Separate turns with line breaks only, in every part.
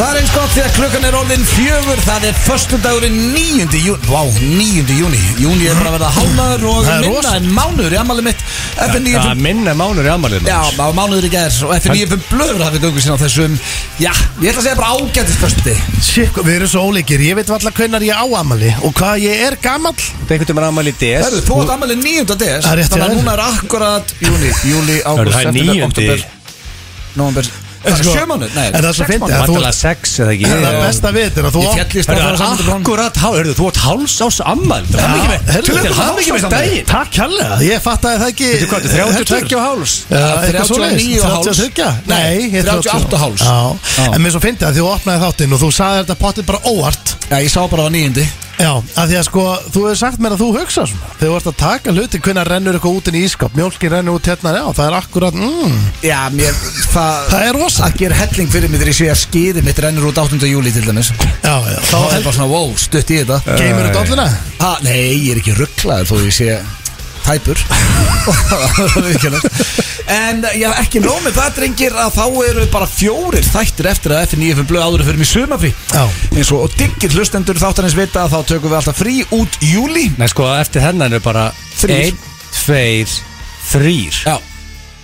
Það er eins gott því að klukkan er orðin fjögur Það er föstudagurinn 9. júni Vá, 9. júni Júni er bara að verða hálnaður og
Það er
minna
rosa.
en mánuður í ammali mitt FN9
Það er minna mánur í ammaliðinu
Já, á mánuður í gær og FN9 fyrir blöður hafi göngu sín á þessum Já, ég ætla að segja bara ágættist föstudi
Shit, sko, við erum svo ólíkir, ég veit valla hvenar ég á amali og hvað ég er gammal
Það er einhvern veginn ammali í DS
Herru, þú átt ammali 9. des
Það er
Þannig að
rétt, já.
núna er akkurat júni, júli, águst,
það er níundi
Nóvember Það er
Sko,
sjö mánuð, nei,
en það er svo
sex mánuðir.
fyndið að þú-
Vandalega sex eða ekki
Það
Já.
besta við þetta er að þú
Ég
átt
fjallist á það
Hörðu,
var samanlítið blóm.
akkurat, hörðu, þú átt háls ás ammal Það er mikið með,
Heyrðu,
til
þetta er
hann mikið
hálfsás
með
daginn.
daginn
Takk hérlega, ég fattaði það ekki
Veitu hvað, þetta er 32 og háls?
Já, eitthvað
39
svoleiðis,
og háls.
32?
Nei,
Nei, ég er
38 og háls.
Já,
Já.
en mér svo fyndi að því þú opnaði þáttinn og þú sagði þetta pottið bara óvart
Já, ég sá bara á nýjundi
Já, af því að sko, þú hefur sagt mér að þú hugsa svona Þegar þú varst að taka hluti, hvenær rennur eitthvað út inn í ískap Mjólkin rennur út hérna, já, það er akkurat, mm,
Já, mér, það
það er rosa
að gera helling fyrir mig þegar ég sé að skýri mitt rennur út 8. júli til dæmis þá
Já, já, þá
er bara svona wow, stutt í þetta
geymur
Æ.
þetta allina
ha, Nei, ég er ekki rugglaður þó ég sé tæpur En já, ekki nóg með það drengir að þá eru bara fjórir þættir eftir að F95 blöð áður fyrir mig sumafrí
Já.
eins og, og diggir hlustendur þáttanins vita að þá tökum við alltaf frí út júli
Nei, sko, eftir hennan er bara
Þrír.
Einn, tveir, þrýr
Já,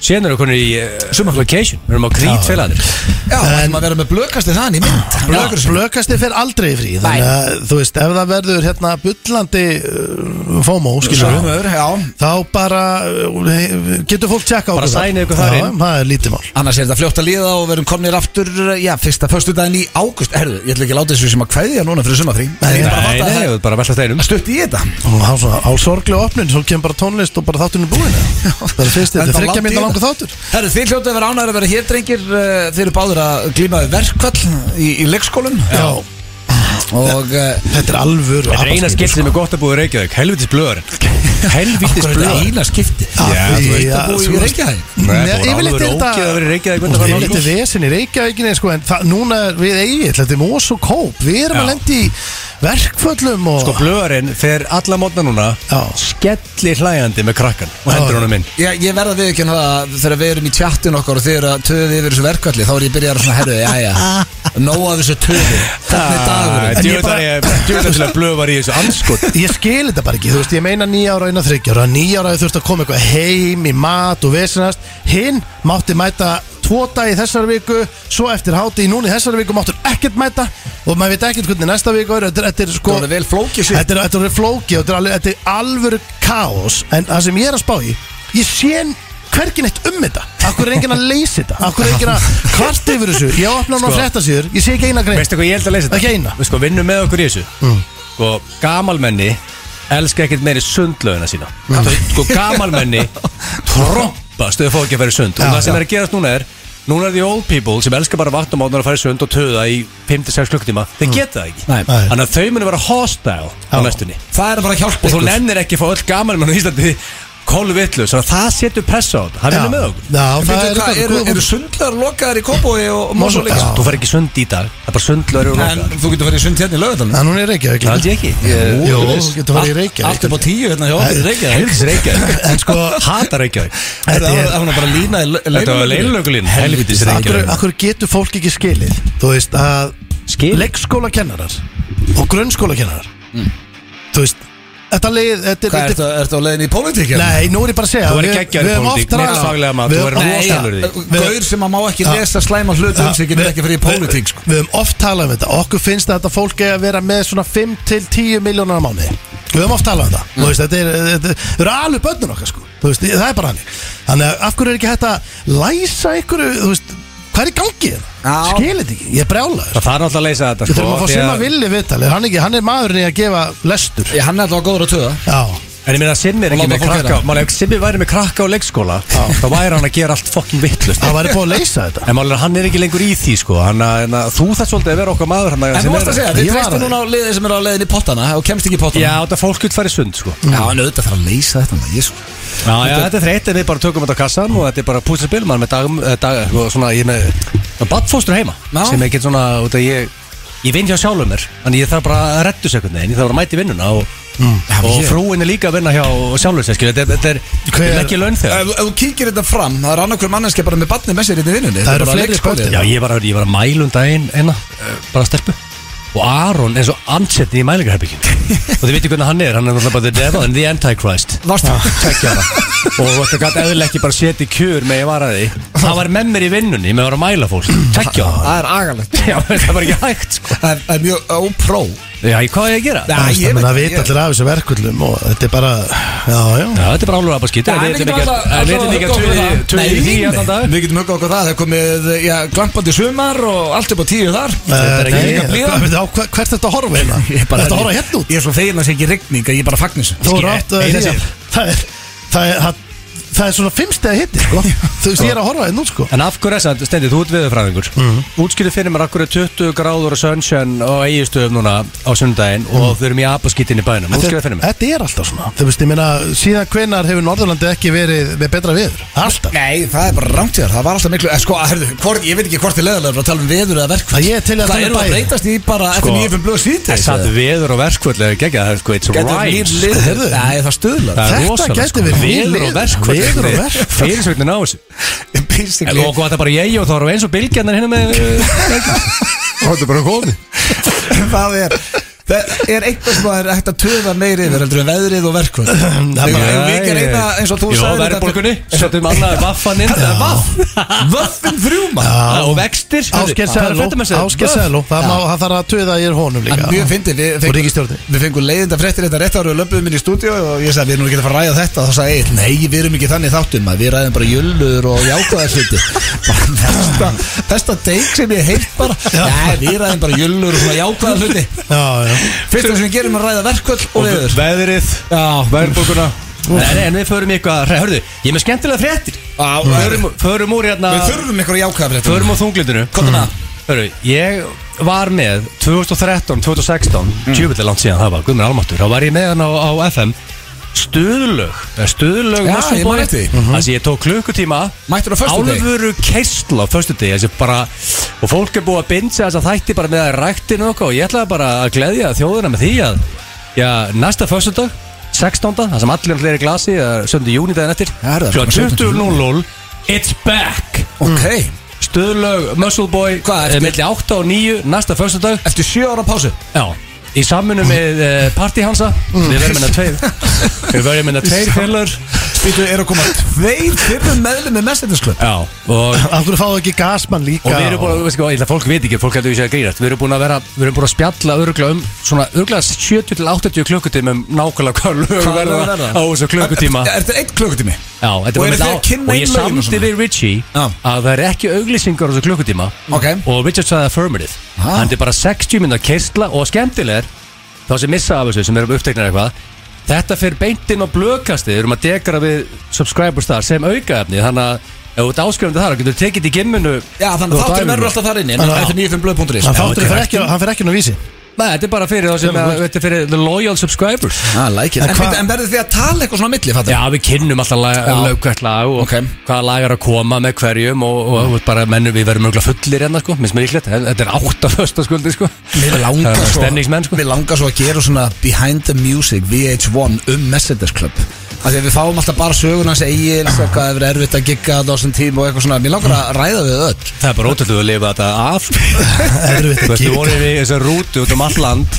Sén erum við konur í uh, Summer Vacation Við erum á
Já.
krít félagarnir
já, en, maður vera með blökasti þann í mynd
Blökast- Blökasti fer aldrei í frí Þannig að, þú veist, ef það verður hérna bullandi uh, FOMO, skilur við
Sumur, já
Þá bara, uh, he- getur fólk tjekka á
Bara
okkur þar.
sæna ykkur þar
Já,
inn.
Það er lítið mál
Annars er þetta fljótt að liða og við erum komnir aftur Já, fyrsta föstudaginn í águst Herðu, ég ætla ekki að láta þessu sem að kveðja núna fyrir sumafrí En ég er bara að
Nei,
fatta að
nei, við
það
erum bara að velta þeirnum
er stutt í þetta
Og hann svona á sorglega opnin, svo kemur bara tónlist og bara þáttunum búin Það er fyrst, þetta
Enda
er þryggja
langt í
mynda langur
þetta.
þáttur
Herðu, þið hljóttu að vera ánæður að vera hér, drengir eh, Þið eru báður að glímaðu verkvall í, í leikskólum
Já,
Og eh,
þetta er alvöru
Þetta er eina
apaskipti,
skilt
sko.
sem er gott að búið í Reykjavík Helvitis blöðurinn
akkur
Helvitis
er þetta
blöðurinn
eina skipti
Af
Já,
því
þú
Þú
veist
ert
að
að
þú
búið í Reykjavík
veist- Nei, yfirleitt er þetta
Ógeð að vera í Reykjavík
Það er lítið
undanfarin ár.
vesen í Reykjavíkinni sko, en það, núna er við eigið, þetta er mós og kóp Við erum
Já.
að lendi í verkföllum og
Sko blöðurinn fer alla mótna núna
Já.
Skellir hlæjandi með krakkan Og
Já.
hendur honum inn
Já, ég verða við ekki hana þegar við erum í tjattin okkar og þið eru að töðu yfir þessu verkvalli þá er ég byrjar að svona, herru, já, já, nóa þessu töðu, hvernig
Ah,
er dagurinn?
En ég bara-
Djúðanlega blöð var í þessu anskot
Ég skil þetta bara ekki, þú veist, ég meina nýja ára eina þryggjára, nýja ára þurft að koma eitthvað heim í mat og vesinast Hinn mátti mæta tvo dag í þessari viku, svo eftir háti í núni í þessari viku máttur ekkert mæta og maður veit ekkert hvernig næsta viku er, þetta er, þetta er sko
Það er vel flókið sér
Þetta er, þetta er flóki og þetta er, alveg, þetta er alvöru kaos En það sem ég er að spá í Ég sé hvergi neitt um þetta Akkur er enginn að leysa þetta Akkur er enginn að kvart yfir þessu Ég opna hann á
Sko.
fréttasíður Ég sé ekki eina grein
Veistu hvað ég held að leysa þetta?
Ekki eina. Mm.
Við sko vinnum með okkur í þessu Sko gamalmenni elska ekkert meiri sundlaugina sína
Mm.
Þau- Sko gamalmenni trompa stöðu fólki að fara í sund
Já,
Og það sem
já.
er að gerast núna er Núna er því old people sem elska bara vatnumátnar að fara í sund og töða í 5-6 klukkutíma Þeir geta það ekki
Nei.
Mm. Nei.
Þannig að þau muni vera hostile á
Já.
mestunni
Það er sko. að fara að hjálpa
og þú
ykkur.
nennir ekki að fá öll gaman mann á Íslandi kolvillu, þannig að það setur pressa á þetta það vinnur með okkur
Já, það
Veitu
er
hvað,
eitthvað
eru,
góð
eru
punktur.
sundlar lokaðar í Kópói og Mósuleik?
Já.
þú fær ekki sund í dag, það er bara sundlöður og
En
lokar
þú getur farið í sund hérna í lögadalinn
Það núna er Reykjavík
það held ég ekki
Jú,
Ég-
Jú,
Jú,
þú getur
Allt
farið í Reykjavík
upp á tíu hérna hjá okkur í Reykjavík
helgis Reykjavík
En sko
hata Reykjavík
Þetta
Þetta
er-
er hún bara lína í
þetta var
leiluglunni.
leilögulín helvitis
Akkur,
Reykjavík
akkur getur fólk ekki skilið Þú veist að
Skilið? Mm.
Leikskóla Og grunnskóla Þú veist Þetta leið Þetta
Hvað,
þetta-
ertu ertu á leiðinni í pólitík hérna?
Nei, nú er ég bara að segja
Þú verður
við-
geggjaður í
við höfum
pólitík,
oft rætt-
meira faglega maður,
við
þú
höfum
verður
oft-
rosalega í því.
Gaur sem að má ekki
Ja.
lesa slæma hluti
Ah,
um sig getur
Við-
ekki farið í pólitík sko.
Við höfum oft talað um þetta Okkur finnst að þetta fólk eigi að vera með svona 5 til 10 miljónar á mánuði Við höfum oft talað um þetta Þú veist, þetta er- þetta er- Þau eru alveg bönnur okkar sko Þú veist, það er bara hann Þannig að af hverju er ekki hægt að læsa ykkur Þú veist, hvað er í gangi
Já.
hérna? Skilir þetta ekki, ég er brjálaður
það þarf náttúrulega að leysa þetta sko,
Við þurfum að fá
því
sem að villi viðtalið Hann, ekki, hann er maðurinn í að gefa lestur
Ég hann er alltaf góður að töða
Já,
en ég meina að Simmi er
Og
ekki
láta
með
fólk
krakka
gera.
Máli, ef Simmi væri með krakka á leikskóla þá væri hann að gera allt fokkin vittlust
það væri búið að leysa þetta
en máli, hann er ekki lengur í því sko hann að- en að þú þarf svolítið að vera okkar maður hann að-
En
sem
þú
er-
varst að segja, þið
Ég var
treystum
að-
núna á liðið sem er á leiðinni í pottana og kemst ekki í pottana Mm.
Já, þetta fólk vil fara í sund sko
Já, en auðvitað þarf að leysa þetta maður, Jesús.
Já, já, þetta er þreytt en við bara tökum þetta á kassan og þetta er bara púsið spil, maður er með dag, eh, dag og svona, ég er með badfóstur heima
Já.
sem ég get svona, út að ég ég vinn hjá sjálfum mér, þannig ég þarf bara að rettu sekundu en ég þarf bara að mæti vinnuna og
Mm. Já,
Og
ég-
frúin er líka að vinna hjá sjálfursinskil Þetta er, þetta er,
Hver-
þetta er ekki laun þegar
Ef ef þú kíkir þetta fram, það er annarkur manneskja bara með barnið með sér hérna í vinnunni
Það
Þetta
eru
bara
fleiri
leikrit
skotið.
skotið.
Já, ég var að, ég var að mæla um daginn einna, eh, bara stelpu Og Aron eins og ansettin í mælingarherbygginu Og þið veitir hvernig hann er, hann er náttúrulega bara the devil and the antichrist
Varstu?
Tekjara Og þetta gæti eðlilega ekki bara setið kjur með ég var að því Það var með mér í vinnunni, með að vera að mæla fólk Tekjara
Það er agalegt
Já, það var ekki hægt sko
Það er- það er mjög ópró
Já, ég- hvað er ég að gera?
Já,
Það
ég
er
veit
að
ekki,
vita
ég-
allir af þessu verkullum og þetta er bara, já, já
Já, þetta er bara álur að bara skýta
Já,
Við
en við
veitum
getum
ekki
alltaf- alltaf huggað okkur
að- við veitum ekki að
það.
tuðið í því
Nei,
allan dag
Við getum huggað okkur það, það er komið eh, já, glampandi sumar og allt upp á tíu þar
Þetta er
Eh,
ekki
nei,
líka
blíðan.
hvað- veitu, á hver- Hvert þetta horfa hérna? Þetta horfa hérna út
Ég er svo fegin að það sé ekki rigning að ég bara fagnis
Þú rátt að því
Eina
að
sér.
það er, það er, það, það er svona fimmstega hitti sko. Þú veist ég er að horfa hérna út sko
En af hverju þess að stendir, þú ert viðurfræðingur mm. Útskýrið fyrir mér af hverju er 20 gráður og sunshine og eigistöðum núna á sundaginn og þau erum í apaskítin í bænum Útskýrið fyrir mér
Þetta er alltaf svona Þú veist ég meina síðan hvenar hefur Norðurlandi ekki verið með betra viður Alltaf
Nei, það er bara rámt í þér, það var alltaf miklu eh, Sko, herðu, hvort, ég veit ekki hvort þið leðilega að tala um veður eða verkvæð
Það ég er til í að
Það
tala um
eru að
bæði.
breytast í bara eftir
Sko,
nýjum fyrir blöðu síðdegi
Satt veður og verkvöld er ekki það er sko it's
Gæti verið
right
nýr liður.
Heyrðu.
Nei, það stuðlar
Það er
Þetta
rosalegt, sko.
gæti verið nýr
Veður og
liður.
verkvöld
Veður og verkföll.
Fyrirsögnin á þessu En
Basically
Og hvað það bara ég og þá erum við eins og bylgjarnar hérna með
Þetta er bara góði
Það er Það er eitthvað sem það er hægt að töða meiri yfir heldur en veðrið og verkvöld Þegar við ekki reyna eins og þú
Jó,
sagðir þetta-
verðbólgunni Settum annað vaffan inn
Það er vaff Vaffin þrjúma
Og vextir
Ásgeir Seló Ásgeir Seló Það má- það þarf að tuða í honum
En
líka
mjög fyndið, við
Og ríkisstjórnin.
við fengum leiðinda fréttir þetta rétt ára og löpum inn í stúdíu og ég sagði við erum nú ekki að fara að ræða þetta og þá sagði ég, nei, við erum ekki þannig þáttum að við ræðum bara jöllur og jákvæðar hluti bara besta, besta deik sem ég heilt bara nei, við ræðum bara jöllur og svona jákvæðar hluti
Já, já
fyrst það sem við gerum er að ræða verkvöld og veður
Veðrið Verðbólguna Nei, nei, en við förum í eitthvað Hörðu, ég er með skemmtilega fréttir
Já,
Förum, förum úr hérna
við þurfum ykkur jákvæðar hluti
Förum úr þunglindinu
Komdu með það.
Hörru, ég var með 2013, 2016 mm. Tjúbillir langt síðan það var, Guðmur Almattur Þá var ég með hann á, á FM Stöðlög eh, Stöðlög
Já,
Mosfellsbæ.
ég man eftir því. Mhm.
Þessi Mm-hmm. ég tók klukkutíma
Mættur á föstudegi?
Álfuru keistla á föstudegi Þessi bara Og fólk er búið að bindsa þess að þætti bara með að rækti nokkuð Og ég ætlaði bara að gleðja þjóðina með því að Já, næsta föstudag 16. Það sem allir allir er í glasi Söndi júni daginn eftir
Já, er það?
Klukkan
17.
20.00 It's back
ok,
Stöðlög, Muscle Boy
Hvað,
eh,
ertu-
Milli 8 og 9, næsta föstudag
eftir sjö ára pásu
Já Í saminu með uh, Party Hansa
Mm.
Við verðum hérna tveir Við verðum hérna tveir félur
Býtu, er að koma tveir fyrrum meðlum með Messenders Club
Já Og
Af hverju fáðu ekki gasmann líka
Og við erum búin að, veist ekki, ég ætla að fólk veit ekki, fólk heldur ekki að grínast Við erum búin að vera, við erum búin að spjalla örgla um Svona örgla 70-80 klukkutíma um nákvæmlega hvað lög
Hvað
verða
lög verða?
á þessu klukkutíma
Er þetta einn klukkutími?
Já,
Og
þetta
eru
var með
þið
á
að kynna
Og ég
inn lögin og
samdi
svona?
við Richie
Já.
að það er ekki auglýsingar á þessu klukkutíma
Ok.
Og Richard sagði affirmative
Ha.
Þannig er bara 60 minna keistla og skemmtilegar Þá sem missa af þessu sem erum uppteknar eitthvað Þetta fer beintinn á blökasti Við erum að dekara við subscribers þar sem aukaefni Þannig að ef þú ert áskrifandi þar þá getur þú tekið þetta í gimminu
Já, þannig að þátturinn verður alltaf þar inni en
Já.
Eftir 9.5.is
Hann
Já,
þáttur
ok.
fer ekki- hann fer ekki inn á vísi
Nei, þetta er bara fyrir þá sem
Sem
að,
þú-
Þetta er fyrir the loyal subscribers
Ah, like it.
En
en,
hvað-
en, en verður þið að tala eitthvað svona á milli, fattar?
Já, við kynnum alltaf lag,
Já.
lög, hvert lag og
Ok.
hvaða lag er að koma með hverjum og, og, og bara mennum við verðum mjög fullir hérna sko, minnst mér líklegt, þetta er átt af föstaskuldi sko
Mér
Það
langar,
er
svo,
stemningsmenn, sko.
mér langar svo að gera svona Behind the Music VH1 um Messenders Club Af því að við fáum alltaf bara söguna hans eigin Hvað hefur erfitt að gigga á þessum tím og eitthvað svona Mér langar
Mm.
að ræða við öll
Það er bara ótrúlega að lifa þetta af
Erfitt
Þú
að
veist, við
gera.
vorum í þessar rútu út um all land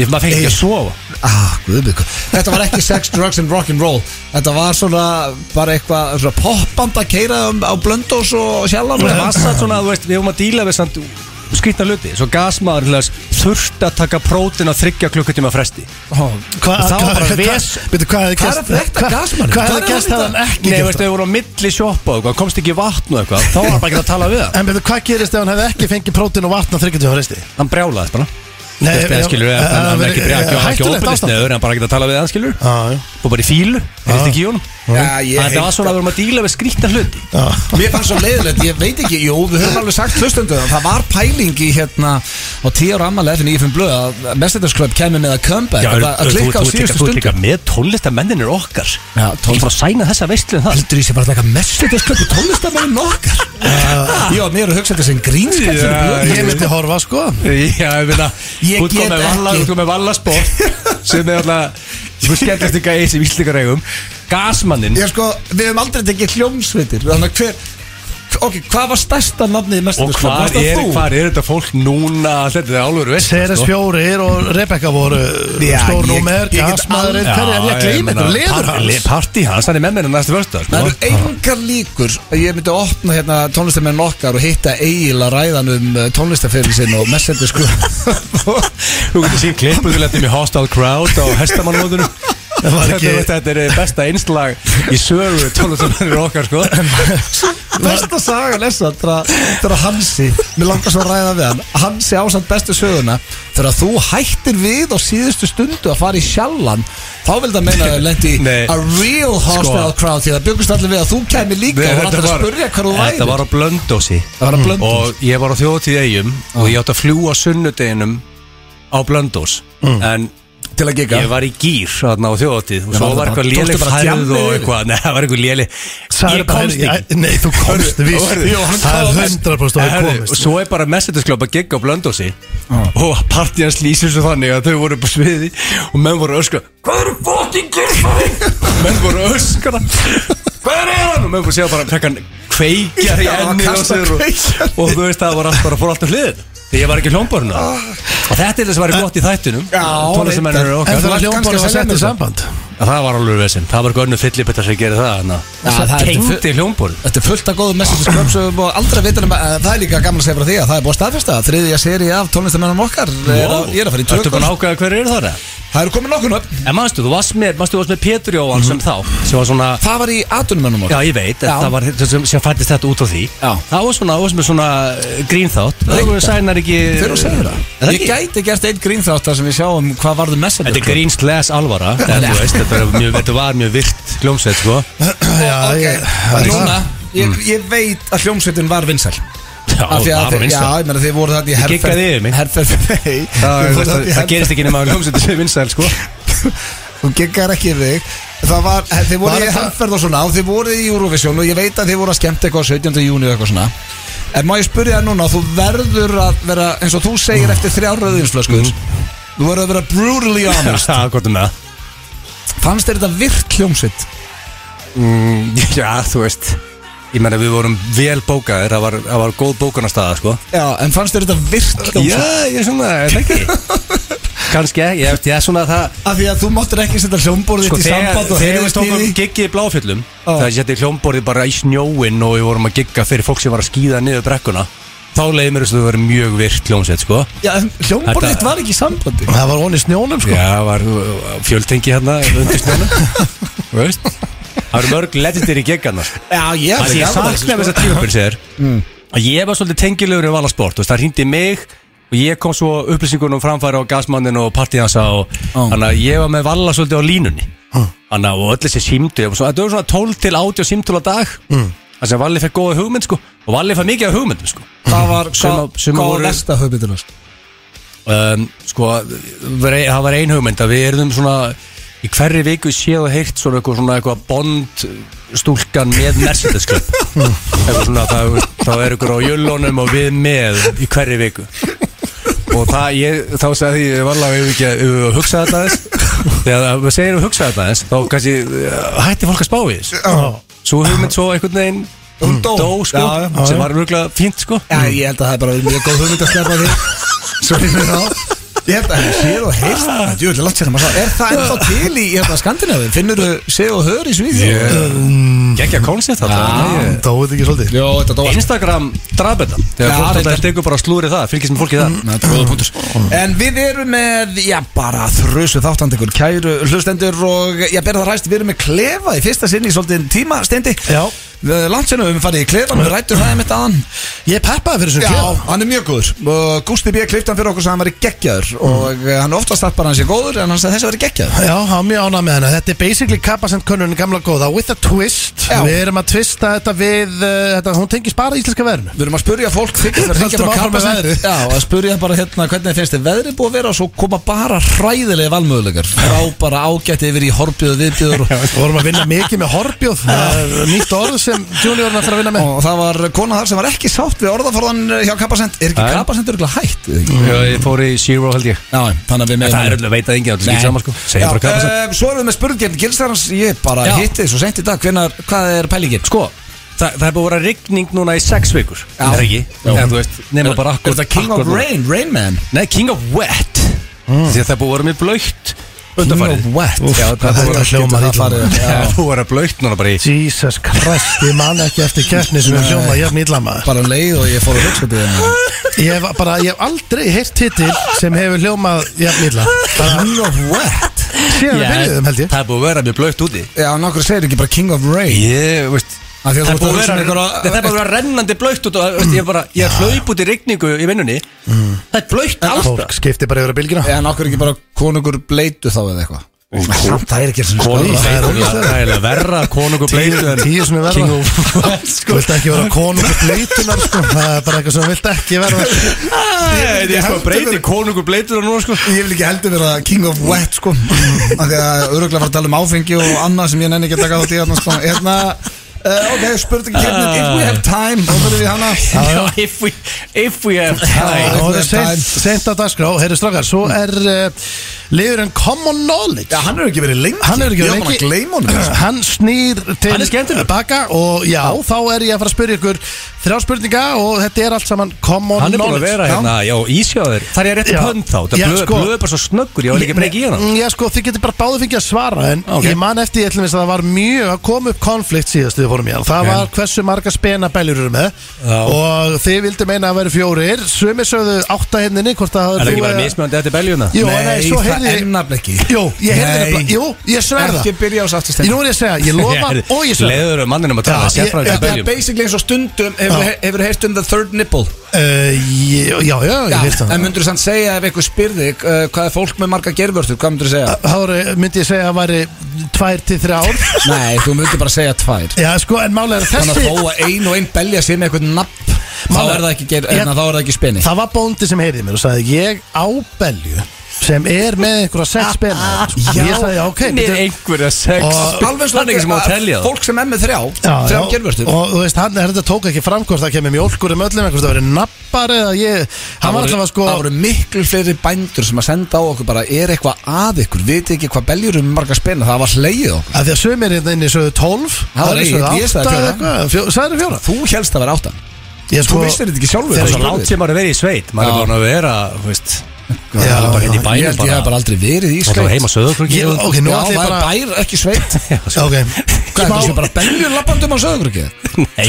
Ég maður fengi ekki að sofa
ah, guðbygg. Þetta var ekki sex, drugs and rock'n'roll Þetta var svona bara eitthvað svona poppand að keira um, á blöndós og sjallan
Það
og
var satt svona, þú veist, við vorum að díla við samt skrýtna hluti, svo gasmaður til þess þurfti að taka prótin að þryggja klukkutíma fresti
Hvað-
Það var
hvað-
bara
hvað-
ves.
Bíddu, hvað
Hvað
hefði
er
gerst-
að frétta
hvað-
gasmanni?
Hvað
Hvað er
hefði
að
gert að
vita?
hann ekki
Nei,
gert
veistu, við vorum á milli sjoppa og eitthvað, komst ekki í vatn og eitthvað, þá var bara ekki að tala við það
En betur, hvað gerist ef hann hefði ekki fengið prótin og vatna þryggjartíma reysti?
Hann brjálaðist bara
Nei,
Þetta
já,
skilur,
eh,
hann hann er ekki
eh,
brjálaðist
hættulegt ástand. Ah,
Hann bara ekki að tala við það skilur
Já, já.
Fór bara í fílu, heyrðist ekki í honum
Já, ég
Þannig að það
heyrði-
var svona Ah, að við vorum að díla við skrýtna hluti
Ah.
Mér fannst svo leiðilegt, ég veit ekki, jú, við höfum alveg sagt hlustendu Það var pæling í hérna á 10 ára ammalið fyrir 9.5 blöð að Messengers Club kemur með að comeback
Já,
að,
þú-
að klikka
þú-
á
þú ert
síðustu
líka- Þú ert
stundu
líka með tónlistamennir okkar
Já,
Þú ert bara að sæna þessa veistlu um það
Heldur því sem bara að taka Messengers Club í tónlistamæri nokkar Já, mér er að hugsa þetta sem grínskap fyrir
Já,
blöð
Ég myndi horfa sko
Já, ég meina
Ég
út kom
get
með valla-
ekki.
út kom með vallasport sem er alltaf Þú skellast ekki að eins í víslingaregum Gasmannin
Ég sko, við höfum aldrei tekið hljómsveitir Þannig að hver, ok, hvað var stærsta nafnið í
Og
Messengers Club?
hvar
Varst það
er,
þú?
hvar er þetta fólk núna Þetta er sko. álveru veist
Ceres fjórir og Rebecca voru
Já,
stór
ég-
númer
ég get
Gasmaðurinn,
aldrei-
hverju er ég að gleyma þetta? Leður hans
Parti hans, hann er með mér sko. á næstu vörstu
Það eru engar líkur að ég myndi opna hérna tónlistamenn okkar og hitta Egil að ræðan um tónlistaferðin sinn og sko. Messengers Club
Þú getur síðan klippuð til þetta með Hostile Crowd á hestamannmóðunum
Það var
Þetta,
ekki-
þetta er besta einslag í sögu tónlistamennir okkar sko
Besta sagan er samt þegar- þegar Hansi, mér langar svo að ræða við hann Hansi ásamt bestu söguna þegar þú hættir við á síðustu stundu að fara í sjallan þá vil það meina að þau lendi
Nei.
a real hostile
Sko.
crowd því það byggust allir við að þú kæmi líka og var allir að spurja hvað þú væri
þetta var á blöndósi
Það var Ah. að blönda
og ég var á þjóðtíð eigum og ég átti að fljúa sunnudeginum á Blöndós
Mm.
en
til að gigga
ég var í gýr þarna á þjóðtíð og
Já,
svo
var
var
það bara-
eitthvað léleg
tókstu bara
færð
djammið
og
yfir?
eitthvað nei, það var eitthvað léleg
Sagði
ég
bara,
komst
"Heyrðu,
ekki
ég- Nei, þú komst
Hörðu,
víst
hörðu, jú, hann sko,
Það
kláraði
er 100%
mest.
að þú
Herðu,
komist
og svo er bara messagesklöp að gegga á blöndósi og partíans lýsir svo þannig að þau voru upp á sviði og menn voru að öskra hvað eru fokkin gerðfæði menn voru að öskra hver er hann og menn voru að segja bara frekkan kveikjar í
Já,
ennið og,
kasta
sér og,
kveikjar.
og þú veist það var allt bara fór allt um hliðin því ég var ekki hljómbarna og þetta er það sem var gott í þættunum
Já,
tónlistamennir
reyndar.
okkar
Þú varst
En það var
kannski
hljómborð
að
að
selja
setja
mér
í samband
Að Það var alveg vesinn, það var gönnu fyllibittar sem gerir það hana.
Já,
Það
það er
tengdi hljómborð
Þetta er fullt af góðum message skröps og búið aldrei að vita nema eh, það er líka gaman að segja frá því að það er búið að staðfesta að þriðja seri af tónlistamennum okkar er að, ég er að fara í
Ertu búin
tökum
að ákveða hver er það? eða?
Það eru komin nokkur nöfn
En manstu, þú varst með, manstu, þú varst með Pétur Jóhann sem þá sem var svona,
Það var í atunumennum
Mhm. já
okkar
ég veit en
Já.
það var, sem, sem fættist þetta út á því
Já.
Það var svona, það var svona, svona eh, grínþátt Það voru sænar ekki
Þau eru að segja
Er
það
það
Ég
ekki?
gæti gert einn grín þátt þar sem við sjáum hvað um varðu message
Þetta er grín slæs alvara en þú veist, þetta, er mjög, þetta var mjög virt gljómsveit sko
Já, ég- það er
Núna,
það.
ég, ég veit að hljómsveitin var vinsæl
Já,
Af því að
Mm. það var
þið-
vinsæl
Já, ég meina þið voru þarna í herferð
giggaði yfir mig.
Herferð Nei, þið
Það, þú
voruð þarna í
veist, það, það
herferð-
gerist ekki nema að gljómsveit sem vinsæl sko
Þú geggar ekki yfir þig Það var, eh, þið voru
Var
í
þetta-
handferð og svona og þið voru í Eurovision og ég veit að þið voru að skemmta eitthvað á 17. júni og eitthvað svona En má ég spyrja það núna, þú verður að vera, eins og þú segir eftir þrjáröðinsflöskuður Þú verður að vera brutally honest
Það er gott um það
Fannst þér þetta virk hljómsitt?
Mm, Já, þú veist Ég meina við vorum vel bókaðir Það var, það var góð bókunarstaða sko.
Já, en fannst þér þetta virk hljómsitt?
Já, ég er svona, ég veit ekki Kanski, ég veist, ég er svona það
Af því að þú máttir ekki setja hljómborðið
Sko,
sko, í
þegar,
samband og
þegar við
heyrðist í
tókum
því.
giggið í bláfjöllum Þegar ég seti hljómborðið bara í snjóin Og við vorum að gigga fyrir fólk sem var að skýða niður brekkuna Þá leiði mér þess að það verið mjög virkt hljómsveit sko.
Já, en hljómborðið
Þetta-
þitt var ekki í sambandi
Það var onni snjónum sko
Já, var fjöltengi hérna undir snjóna Þú veist Það eru mörg legendir í giggana sko.
Já, ég
Það ég
sko.
sakna þess að tímabil sér
Mm.
að ég var svolítið tengilegur í valasport þú veist, það hringdi í mig og ég kom svo upplýsingunum framfæra á gasmannin og partíðansa og
Ó.
þannig að ég var með valla svolítið á línunni þannig að og öll þessi símdu ég var svona- þetta voru svona 12 til 80 símtúl á dag
Mm.
þannig að Valli fekk góða hugmynd sko og Valli fekk mikið af hugmyndum sko
Það var,
Suma-
hvað
suma
var
voru-
næsta höfbytunars?
um, sko, var ein- það var ein hugmynd að við erum svona í hverri viku séð og heyrt svona eitthvað, svona eitthvað bond stúlkan með Mercedes Club eitthvað svona það, þá er ykkur á jöllunum og við með í hverri viku og það ég, þá sagði ég varlega ef við ekki að ef við hugsa þetta aðeins þegar við segir við hugsa þetta aðeins þá kannski eh, hætti fólk að spá í þess svo hugmynd svo einhvern veginn
Hún dó.
dó sko,
Já, já.
sem var mjöglega fínt sko
Já, ég held að það er bara mjög góð hugmynd að slepa því Svo erum við þá Ah. Ég held að séð og heyrst það Jú, þetta er langt sér að hérna, maður sá Er það ennþá til í hérna, Skandinavi? Finnur þú séð og hör í svíði?
Gekkja koncept þetta
Dóið ekki svolítið
Jó, þetta dóa
Instagram draf þetta
Já,
Þegar fólk
reyndar.
alltaf tekur bara slúrið það, fylgist með fólki það
Ná, þetta er góður punktur. En við erum með, já bara þrjusu þáttandekur, kæru hlustendur og ég ber það ræst, við erum með klefa í fyrsta sinni í svolítið tíma stendi
Já.
Langt sinni við erum farið í klefan, við rættum það einmitt aðan
Ég er peppaði fyrir þessum
Já,
klefa
hann er mjög góður og Gústi B. klippti hann fyrir okkur sem hann væri geggjaður og eh, hann oftast þarf bara hann sé góður en hann sagði þessi væri geggjaður
Já, hann mjög ánað með hana Þetta er basically kappasend könnunin gamla góða With a twist
Já.
Við erum að twista þetta við uh, þetta, Hún tengis bara íslenska verðinu
Við erum að spurja fólk þykist að ringja bara
Höldum áfram með
kappasend-
veðrið.
Já, að spurja bara hérna hvernig finnst þið veðrið búið að vera og svo koma bara hræðilega valmöðulegar frá bara ágætt yfir í horfið og viðbjöður og
Við vorum að vinna mikið með horbjóð Það er nýtt orð sem juniorinn að fara að vinna með
og það var kona þar sem var ekki sátt við orðaforðan hjá Kappasend er ekki
Nei.
Kappasend örgulega hætt eða ekki?
Já, ég fór í Zero held ég
Já, þannig að við meðum
Það er öll að veita engin, það er
Mm. Nei.
ekki sama sko
Já,
Segja bara hvað það
eh, Svo erum við með spurningarn Gilsarans, ég bara
Já.
hitti þið svo sent í dag hvenar, hvað er pælingin?
Sko, það, það er búið að vera rigning núna í sex vikur Já Það er ekki,
Já.
en þú veist, nema bara akkur
Er þetta King of Mm. Rain, Rain Man?
Nei, King of Wet Því að það er búið að vera mjög blöytt undanfarið
King of Wet?
Úff,
Já,
hvað
það
þetta
voru- getur
hljómar
það
illa.
farið-
Það
Já.
er búið að vera blöytt núna bara í
Jesus Christ, ég man ekki eftir keppni sem er hljóma jafn illa maður
Bara um leið og ég fór að hugsa byrja
Ég hef, bara, ég hef aldrei heyrt titil sem hefur hljómað jafn illa Bara
King of Wet?
síðan við
um,
byrjuðum held ég
það er búið að vera mjög blöytt úti
Já, nokkur segir ekki bara King of Rain
Ég, veist
Af því að þú
Það er
ert að
búið
hugsa um
að vera,
einhverja-
það er bara að vera rennandi blöytt út og veist, ég, er bara, ég hlaup út í rigningu í vinnunni
Mm.
Það er blöytt
Fólk
alltaf
skipti bara yfir að bylgina
En okkur ekki bara konungur bleitu þá eða eitthvað Samt, Það er ekki eins og
Konungur
Það er
bleitu,
ógeðslega.
það er eiginlega verra að konungur bleitu en
Tíu sem er verða
King of
Þú vilt ekki vera konungur bleitunar sko Það er bara eitthvað sem þú vilt ekki verða
Ég er sko að breyti konungur bleitur og núna sko
Ég vil ekki heldur vera King of Wet sko Af því að öruglega fara að tala um áfengi og annað sem ég nenni ekki að taka þátt í hérna sko Hérna, uh, ok, spurði ekki hérna If we have time, þá verðum við hana
Já, If we, if we have
Já.
time
Og það er
Time.
seint- seint á dagskrá, heyrðu strákar Svo er uh, liðurinn Common Knowledge
hann hefur ekki verið lengi
Hann er ekki
Ég var bara að gleyma honum
Hann snýr til
Hann er skemmtilegur.
baka Og já, þá er ég að fara að spyrja ykkur Þrjá spurninga og þetta er allt saman Common
Hann er búin að
Knowledge
vera hérna, já, ísjáður Það er ég rétt
Já.
pönd þá, það
Já,
blöð
sko.
blöð er bara svo snöggur Ég var ekki að breyka í hana
Mm, Já sko, þið getur bara báði fengið að svara En
Ok.
ég man eftir, ég ætlum að það var mjög að koma upp konflikt síðast við fórum í hann Það
Ok.
var hversu marga spena beljur eru með
Já.
Og þið vildu meina að vera fjórir Sumi sögðu átta henninni Hvort það hafði
Er það ekki
þú
bara
eða-
mismöndi eftir beljuna?
Jú, nei, svo
það
heyrði
er
ég
nafn ekki
Jú, ég heyrði
Nei.
nefnilega Jú, ég sverða
Ekki byrja á
Ég
sáttistein
nú er ég að segja, ég lofa og ég sverða
Leður manninum að tala,
Já,
sérfræðið
ég-
til
ég-
beljum
basically eins og stundum Hefur
Já.
hefur heyrt um the third nipple
Uh, ég- Já, já,
Já,
ég veist það
en myndur þú sann segja ef einhver spyrði uh, hvað er fólk með marga gervörtur, hvað myndur þú segja?
Þá eru- myndi ég segja að það væri tvær til þrjár
Nei, þú myndur bara segja tvær
Já, sko, en málega
Þannig að
þessi
þó að ein og ein belja sér með eitthvað nafn þá
Má-
er það ekki, ger,
Ég-
en, þá er það ekki spenni
Það var bóndi sem heyrði mér og sagði Ég á belju sem er með einhverja sex spena
Já,
Ég sagði, já, ok
Með
bitte."
einhverja sex
Og-
Alveg svo ekki sem á að telja það
Fólk sem er með þrjá,
Já,
þrjá
já,
gervörtur
og þú veist, hann þetta tók ekki fram hvort það kemur mjólkur um öllum, hvort það verið nappar eða ég, hann var alltaf að sko
Það voru miklu fleiri bændur sem að senda á okkur bara er eitthvað að ykkur, viti ekki hvað beljur eru með marga spenna, það var slegið okkur
að því að sömur hérna inni sögðu 12
Það var
aðrir
ég-
sögðu
ég sagði
8 eða
fjóra.
eitthvað, fjó- sagðirðu fjóra
Þú helst að vera áttan Þú
Ég sko-
vissir þetta ekki sjálfur
Þegar
Og
hvað
svo
þú
langt
spurðir.
sem maður er verið í sveit Maður
Já.
er búin að vera, þú veist
Já,
Bara
já,
hérna í
Ég
bænum
held ég hef
bara
bara aldrei verið í
Það er heima
sveit
söðukröki
Ég- ok, nú
Já,
ætla ég
maður
bara
bær ekki sveit
Ok,
Hvað er það sem
smá,
bara beljur lappandum á söðugröki?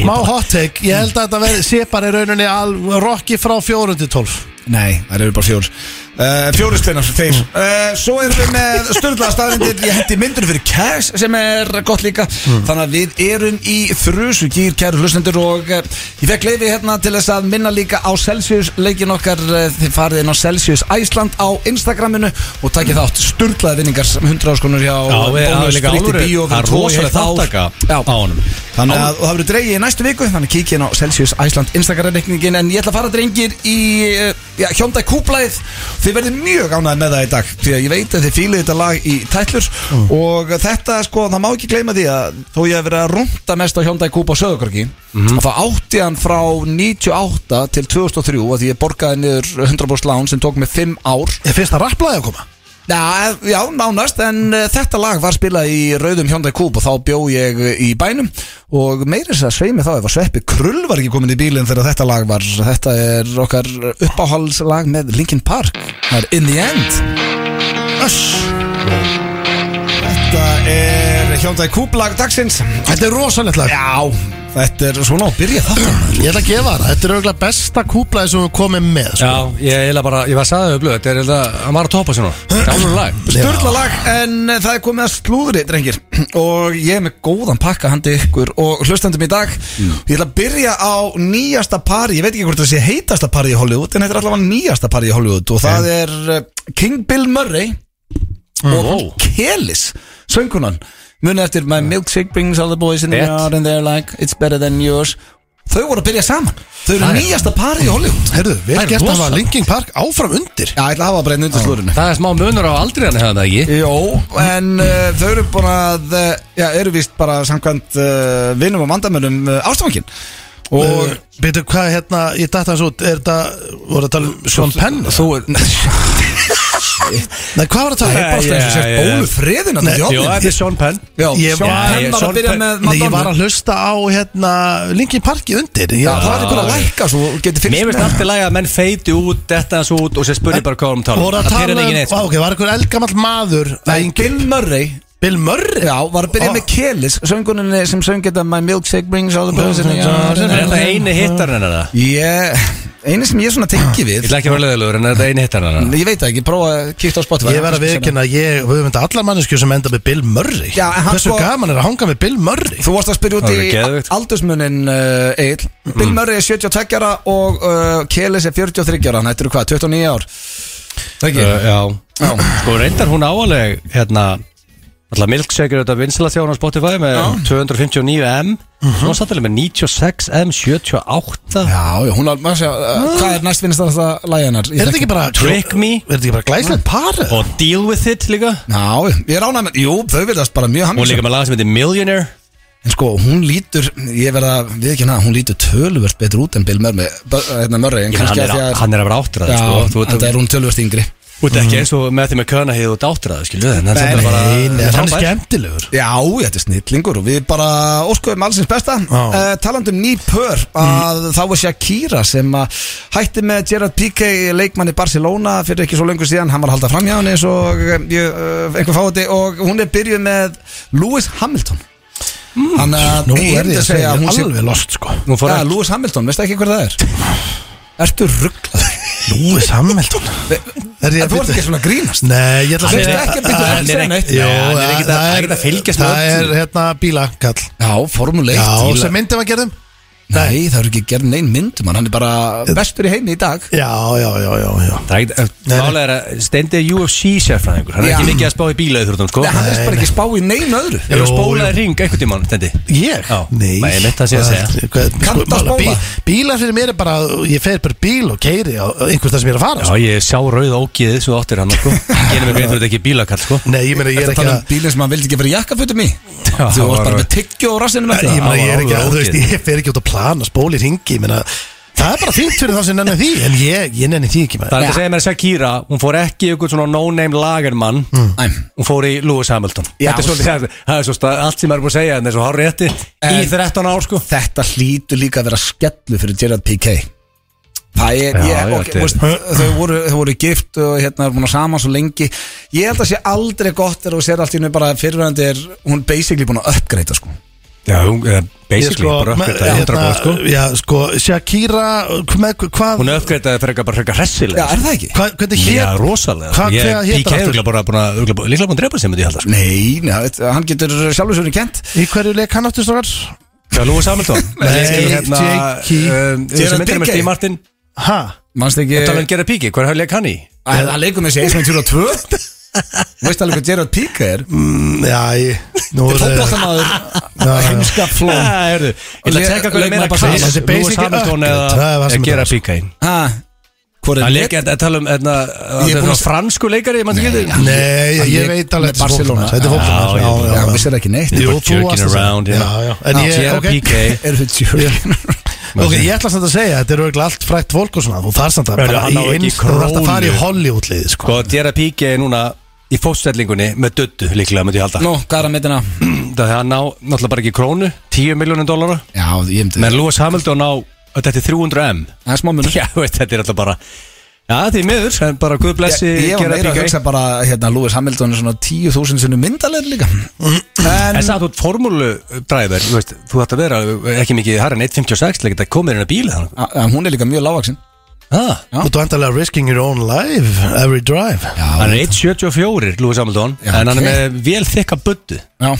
smá hot take Ég held að þetta verði sé bara í rauninni al, Rocky frá 4 til 12
Nei, það eru bara fjór uh, Fjóri spinnar, þeir uh, Svo erum við með störðlega staðrindir Ég hendi myndur fyrir cash sem er gott líka
Mm.
Þannig að við erum í þrjusugýr Kæru hlustendur og uh, Ég fekk leiði hérna til þess að minna líka á Celsius leikin okkar uh, Þið farið inn á Celsius Æsland á Instagraminu Og takið þátt störðlega vinningar sem 100 áskonur hjá
Já, við- það er
Bónus
líka
Spritti
alvöru-
Bíó, við
það er
erum tvo í
rosaleg
heilt ár.
þátttaka
Já.
á honum.
Þannig að og það verður dreigið í næstu viku Þannig að kíkja inn á Celsius Æsland Instagram-reikningin En ég ætla að fara drengir í eh, já, Hyundai Kúblaðið Þið verður mjög ánægð með það í dag Því að ég veit að þið fílið þetta lag í tætlur Og þetta sko, það má ekki gleyma því að Þó ég hef verið að runda mest á Hyundai Kúb á Söðukorki mm. Það átti hann frá 98 til 2003 að Því ég borgaði niður 100% lán sem tók mig 5 ár
Ég finnst það rapplaði að koma
Já, eh, já, nánast, en uh, þetta lag var spilað í Rauðum Hyundai Coupe og þá bjó ég uh, í bænum og meira þess að sveimi þá ef að Sveppi Krull var ekki komin í bílinn þegar þetta lag var þetta er okkar uppáhaldslag með Linkin Park, það er In The End Öss Þetta er Hyundai Coupe lag dagsins
Þetta er rosalegt lag
Já, Þetta er svona að byrja það
Ég ætla að gefa það, þetta er auðvitað besta kúplaði sem við komum með sko.
Já, ég eiginlega bara, ég var sagðið upplöð Þetta er eiginlega, hann var að topa svona Gamla lag
Sturla lag, en eh, það er komið að slúðri, drengir Og ég er með góðan pakka handi ykkur Og hlustandum í dag Ég ætla að byrja á nýjasta pari Ég veit ekki hvort það sé heitasta pari í Hollywood En þetta er allavega nýjasta pari í Hollywood Og það er eh, King Bill Murray Og Mm, wow. Mm. Kélis, söngunan Muna eftir My milkshake brings all the boys in the
Rétt.
yard And they're like, it's better than yours Þau voru að byrja saman Þau eru
Það er-
nýjasta pari í Hollywood
Herðu, vel
Það er
gert að
rosa.
hafa Linkin Park áfram undir
Já, ég ætla að hafa bara einn undir slúðrinu
Það er smá munur á aldrei hann hefðan það ekki
Jó, en uh, þau eru bara að, uh, já, eru vist bara samkvæmt uh, vinnum og vandamönnum uh, ástofangin
Og
og
byrju, hvað er hérna, ég datt hans út Er þetta, voru að tala um Sean Penn?
Þú er
Nei, hvað var að tala
það er
um?
bara
já,
svona sem sérst
já.
bólu friðin að
Nei,
þetta
Jó, þetta
hjálpið
er Sean Penn
Já,
ég-
Sean
já,
Penn
ég-
var
Sean
að byrja
Penn-
með
Nei, ég var
Madonna
að hlusta á hérna Linkin Parki undir
Já,
Já,
það var ykkur að lækka svo og getið
Mér
fyrst
finnst alltaf læg að menn feiti út, detta hans út og sér spurning bara hvað um tala
voru að
Það
tala
er ekki
um,
neitt
á,
sko.
ok, var ykkur eldgamall maður
Nei,
nei,
Bill Murray
Bill Murray
Já, var að byrja
Ah.
með Kélis Sönguninni sem söng þetta My milkshake brings all the boys in the yard
Er þetta eini hittar hennar það?
Ég, einu sem ég svona tengi
Ég
við
ætla ekki að vera leðilegur en er þetta eini hittar hennar
Ég veit það ekki, prófa að kíkta á Spotify
Ég verð að viðkynna að ég, við höfum þetta allar manneskju sem enda með Bill Murray
Já, en hann
Hversu
sko-
gaman er að hanga með Bill Murray?
Þú varst að spyrja út
Það
í
er geðveikt. Mm.
aldursmunin uh, Egil Bill Murray er 72 ára og uh, Kélis er 43 ára Þetta eru hvað, 29 ár Það ekki?
Uh, já. Sko reyndar hún áaleg hérna Alltaf Milkshake er þetta vinsala þjóðan á Spotify með 259M Hún satt alveg með 96M 78
já, já, hún er, maður sé, uh, hvað er næst finnst það lægi hennar?
Er þetta ekki bara
Trick Me
Er þetta ekki bara glæslegt par?
og Deal With It líka
Já, ég er ánæg með, jú, þau verðast bara mjög
Hún er líka
hamingja
með lag sem heitir Millionaire
En sko, hún lítur, ég verða, við ekki hana, hún lítur töluvert betur út en Bill Murray, Bur- hérna Murray en
Ég meina,
kannski að
hann, er
því
að-
að
hann er að vera áttræði
Já,
sko. Þú
en það
veit
er hún töluvert yngri
út ekki eins og með því með könaheið og dáttræði skilu En hann
Nei,
er bara
Nei, nei, hann er
frábær.
skemmtilegur
Já, þetta er snillingur og við bara óskuðum allsins besta
Já. Mm.
uh, Talandum ný pör að þá var Shakira sem að hætti með Gerard Piqué leikmann í Barcelona fyrir ekki svo lengur síðan hann var að halda framhjá henni eins og eh, ég, uh, einhver fáti og hún er byrjuð með Lewis Hamilton Þannig að
Mm. Nú
ég
er
myndi
ég að segja,
að hún sé
alveg lost sko
Nú fór
Ja,
hann
Lewis Hamilton, veistu ekki hver það er? Ertu rugglað?
Lúi Sammeldon Er
En
ég að
þú ert
byrja?
ekki svona að grínast
Nei, ég ætla að
Hann
segja
er ekki að byrja,
Hann
ekki
er
segja
ekki-
neitt.
Nei,
Jú,
hann er ekkert að-
það
ekkert að fylgjast með
Það er
öllu.
hérna bílakall
Já, formulegt
Já, sem myndum að gerðum
Nei, það eru ekki gerð neinn myndum hann, hann er bara bestur í heimi í dag
Já, já, já, já, já
Það er ekkert-
Nei, nei.
Málega er að stendi UFC sérfræðingur Hann er
Já.
ekki mikið að spá í bílaðið sko.
Nei, hann er bara ekki spá í neinu öðru
Ég
Jú,
var spólaði ring einhvern tímann, Stendi
Ég?
Já.
Nei
Nei, ég mitt að sé að segja.
Hvað- sko,
Kanntu að
mála,
spóla?
bí- Bílar fyrir mér er bara Ég fer bara í bíl og keiri á einhvers það sem ég er að fara
Já,
sko.
ég sá rauð ógiðið sem þú áttir hann, sko Genið mig grein fyrir þetta ekki er bílakall, sko
Nei, ég meina ég
Þetta
er ekki
tala
að
um bílinn sem hann vildi ekki vera jakkafutum í
Já,
Þú varst
var-
bara með tyggju og rassinu með
Ég meina
Það
ég er
var
ekki að
alveg
Þú veist,
ógeð.
ég fer ekki út að plana Spóli ringi Ég meina Það er bara fínt fyrir þá sem nenni því En ég, ég nenni því ekki
Það er
maður
hægt að segja mér að Shakira, hún fór ekki í einhvern svona no-name lagermann
Æm.
Hún fór í Lewis Hamilton
Mm. Já,
Þetta er svolítið, það er svo stað, allt sem er búin að segja en er svo hár rétti Í 13 ár, sko
Þetta hlýtur líka að vera skellu fyrir Gerard P.K. Það er,
Já,
ég,
já,
ok,
þetta er-
veist, þau, voru, þau voru gift og hérna er búin að saman svo lengi Ég held að sé aldrei gott er og sér allt í hennu bara að fyrirverandi er hún basically búin að uppgreita sko
Já, hún, eh,
Ég
basically, bara
me-
uppgreitaði 100% sko
hérna, Já, sko Shakira Með hvað
Hún uppgreitaði fyrir eitthvað bara frekar
Já,
hressilega
er það ekki?
hvað- Hvernig
Já,
hér
rosalega
Hvað-
Ég-
hvað hét
PK
hann
er
aftur?
örugglega bara búin að- örugglega- líklega búin að drepa sig með því, ég held að, sko.
Nei, neða, hann getur sjálfur svo henni kent
Í hverju leik hann aftur stakar?
Já, Lewis Hamilton.
Nei,
Í, hérna,
Jake-
um, Eh, þessi
Gerard
myndir með
Piqué.
Steve Martin.
Ha?
Manst ekki,
Ég tala um Gerard Piqué, hver hafði leik hann í?
Æ, það leikur með þessi 1.22 Veist alveg hvað Gerard P.K. er?
Mm, Já, ég Nú er
Fótballtamaður Heimska flóm
Ah, heyrðu, Ég ætla að
Le-
tekka hvað ég
leikmaður
meina
bara
hvað
segir,
þessi
Lewis
basic er
Hamilton
upgrade.
eða
Það er það sem
eða
þetta
gera
var, sko.
píka inn
Ha, Hvor er
Það
létt?
leik er að tala um hérna,
Ég er
þetta
búinn
er
að-
fransku leikari, maður getur
Nei, ég,
Hann
ég
lék
veit alveg
með Barcelona.
Þetta er fólkmann
Já, já,
Já, hann vissir ekki neitt
Jú,
Bara
þú
jerking
varst að
around,
segja
já.
Já, já, en
Já,
ég,
Gerard
ok
Piqué
Er þau tjörn?
Ok, ég ætla samt að segja, þetta er auðvitað allt frætt fólk og svona Þú þarf samt að
Hörru,
bara
hann á
í
ekki
eins Þú þarf að fara í
krónu.
Hollywood-lið, sko
Sko, Gerard Piqué er núna í fóststellingunni með döddu líklega, myndi ég halda
Nú, hvað er að metina?
Mm. Það er hann á, náttúrulega bara ekki krónu 10 miljónum dólara
Já, ég myndi
menn Lewis Hamilton á, þetta er 300M
Það er smá munur
Já, veit, þetta er alltaf bara Já, því miður, en bara Guð blessi
Ég, ég var
gera
meira að
BK.
hugsa bara hérna, Lewis Hamilton er svona 10.000 sinni myndalegri líka En
En satt út formúludræðver, þú veist, þú ætti að vera ekki mikið harra en 1.56 leikir, það komið inn að bíli þannig.
a- en hún er líka mjög lágvaksin
Ah,
Já.
Þú ert vantarlega risking your own life Every drive
hann er 1.74, Lúi Samaldón,
Já,
en hann
ok.
er með vel þykka buddu.
Já.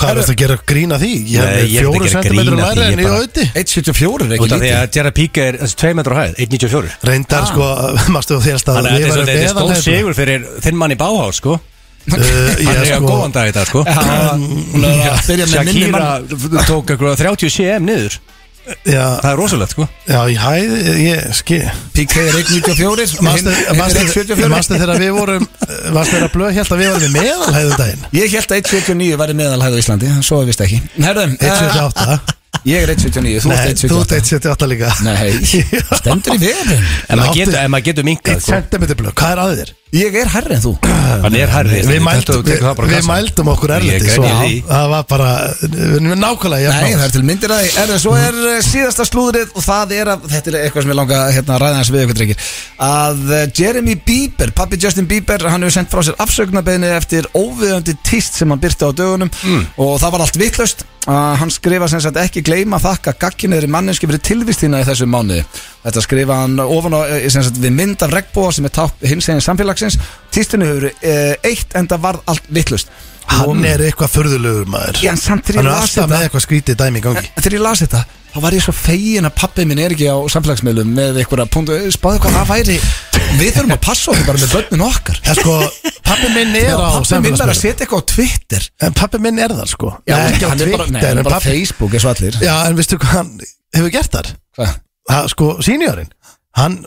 Hvað er þetta að gera grína því? Ég
Nei,
hef
ég er ekki að
fjóru
gera
sentimentur
grín að
læri en
því, ég
ég
bara-
auði
1.74 er ekki
Út af því
lítið
að Gerard Píka er þessi 2 metrar á hæð, 1.94.
Reyndar sko, mástu þú þérst að
Ah. Þannig að
við
þetta er-
varum
þetta er stóð
meðal
sigur fyrir þinn mann í Báhás, sko.
hérna? Uh,
Hann
ég
er eiga
sko,
góðan dag í dag, sko.
Hún er að byrja með minni mann
Shakira tók eitthvað 30 cm niður.
já,
Það er rosalegt, sko.
já, ég hæði, ég skil
PK er 1.94
Mástu
hinn- hinn er 1.74
þegar við vorum Mástu þegar blöð held að við vorum í meðalhæðum daginn
Ég held að 1.79 væri meðalhæð á Íslandi en Svo er vist ekki Herðum,
178
Ah.
eh, ég er 1.79, þú
Nei,
ert
þú ert
1.78
178 líka
Nei, stendur í verðin
En
Við
maður getur-
áttum-
en maður getur minkað,
Eitt
sko.
centimeter blöð, hvað er að þér?
Ég er herri en þú
Hann er harrið.
Við mældum, við, við mældum okkur erlendis
Ég
og
græni því.
Það var bara, við erum nákvæmlega
Nei, það
jafn á.
er til myndir að því Erðu, svo er eh, síðasta slúðrið og það er að, þetta er eitthvað sem ég langa að, hérna, að ræða hans við ykkur drengir að eh, Jeremy Bieber, pappi Justin Bieber hann hefur sendt frá sér afsöknarbeinu eftir óviðandi tíst sem hann byrti á dögunum og það var allt vitlaust að hann skrifa sem sagt ekki gleyma þakka gagkinniðri manninski fyrir tilvist þína í þessum mánuði þetta skrifa hann ofan á eh, sem sagt við mynd af regnbóa sem er tátt hins eginn samfélagsins tístinu hefur eh, eitt en það varð allt vitlaust
Hann er eitthvað furðulegur maður
Já, en samt þegar ég
Hann er
las
alltaf
þetta-
með eitthvað skrítið dæmi í gangi
En þegar ég las þetta þá var ég svo fegin að pappi minn er ekki á samfélagsmiðlum með einhverja punktu, spáðu hvað það væri við þurfum að passa okkur bara með börnin okkar
En sko, pappi minn
Já,
er
pappi minn er
á
að
samfélagsmiðlum
setja eitthvað á Twitter
En pappi minn er það sko
Já,
Nei, ekki á
hann er bara, nei,
Twitter
hann er
en
bara
pabbi-
Facebook eins og allir
Já, en veistu hvað hann hefur gert þar?
Hvað?
Ha, Sko, seniorinn Hann,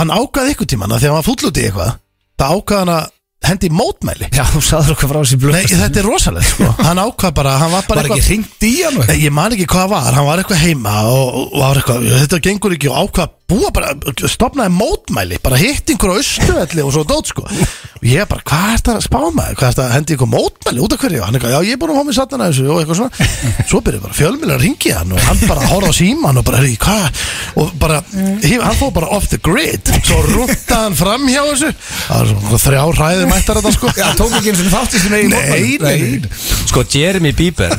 hann ákvaði ykkur tíman að því að hann var fúll út í eitthvað Það ákvaði hann að hendi í mótmæli
Já, þú sagður okkur frá þessi blöð
Nei, þetta er rosalegt sko Hann ákvað bara, hann var bara
Var
eitthvað
ekki hringt í hann og
Nei, Eh, ég man ekki hvað var, hann var eitthvað heima og, og var eitthvað, þetta gengur ekki og ákvað að búa bara, stopnaði mótmæli bara hitt einhverju austuvelli og svo dót sko og ég bara, hvað er það að spá maður hvað er það að hendi einhver mótmæli út af hverju hann eitthvað, já ég er búin að fá mig sattan að þessu og eitthvað svona svo byrjuði bara fjölmjölar að ringi hann og hann bara horfði á síman og bara, "Heyrðu, hvað og bara, hef- hann fór bara off the grid svo rúttaði hann fram hjá þessu það var svona þrjá ræðum ættar þetta sko
Já, tók ekki eins og þátti sinni eigin
Nei,
mótmæli.
nei, nei.
Sko, Jeremy Bieber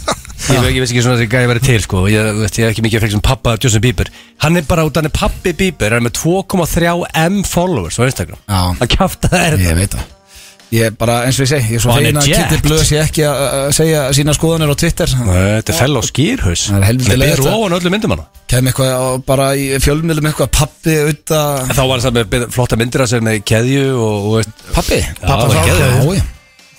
Ég, veit- ég veist ekki svona þessi gæði verið til sko. ég, veist, ég er ekki mikið að fylgja sem pappa Justin Bieber Hann er bara út, hann er pappi Bieber Hann er með 2,3M followers á Instagram
Já.
Hann kjafta það er
Ég veit það Ég er bara, eins og ég segi, ég er svo
Og hann er
fegin að
jacked.
Kitty Blöð sé ekki að að segja sína skoðanir á Twitter
Þetta er fell á skýrhaus
Það er helviti
Hann
leiðilegt.
ber ofan öllum myndum hana
Kem eitthvað á, bara í fjölmiðlum eitthvað pappi auðvitað
Þá var það með flotta myndir að segja með keðju og, og veist,
Pappi?
Pappa
Já,
sá
geðveikt.
gullkeðju.
Já, já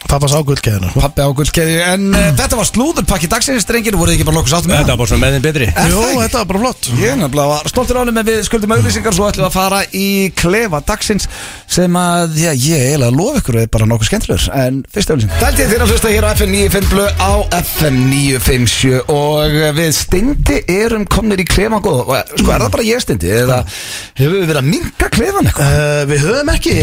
Pappa sá gullkeðinu
Pappi á gullkeðju En uh, þetta var slúðurpakki dagsins, drengir Voruð þið ekki bara nokkuð sáttum með
Þetta var bara svona meðin betri
Er
Jú,
það ekki?
þetta var bara flott
Ég er nefnilega var stoltur ánum en við skuldum auðlýsingar Svo ætlum við að fara í klefa dagsins Sem að, já, ég eiginlega lofa ykkur Er bara nokkuð skemmtilegur En fyrst auðlýsing Dældið þér að hlusta hér á FM 95 blö Á FM 957 Og eh, við steindi erum komnir í klefan góð Og, eh, Sko, er það bara ég steindi? Eða
Sko.
hefur við verið að minka klefan eitthvað?
Uh, við höfum ekki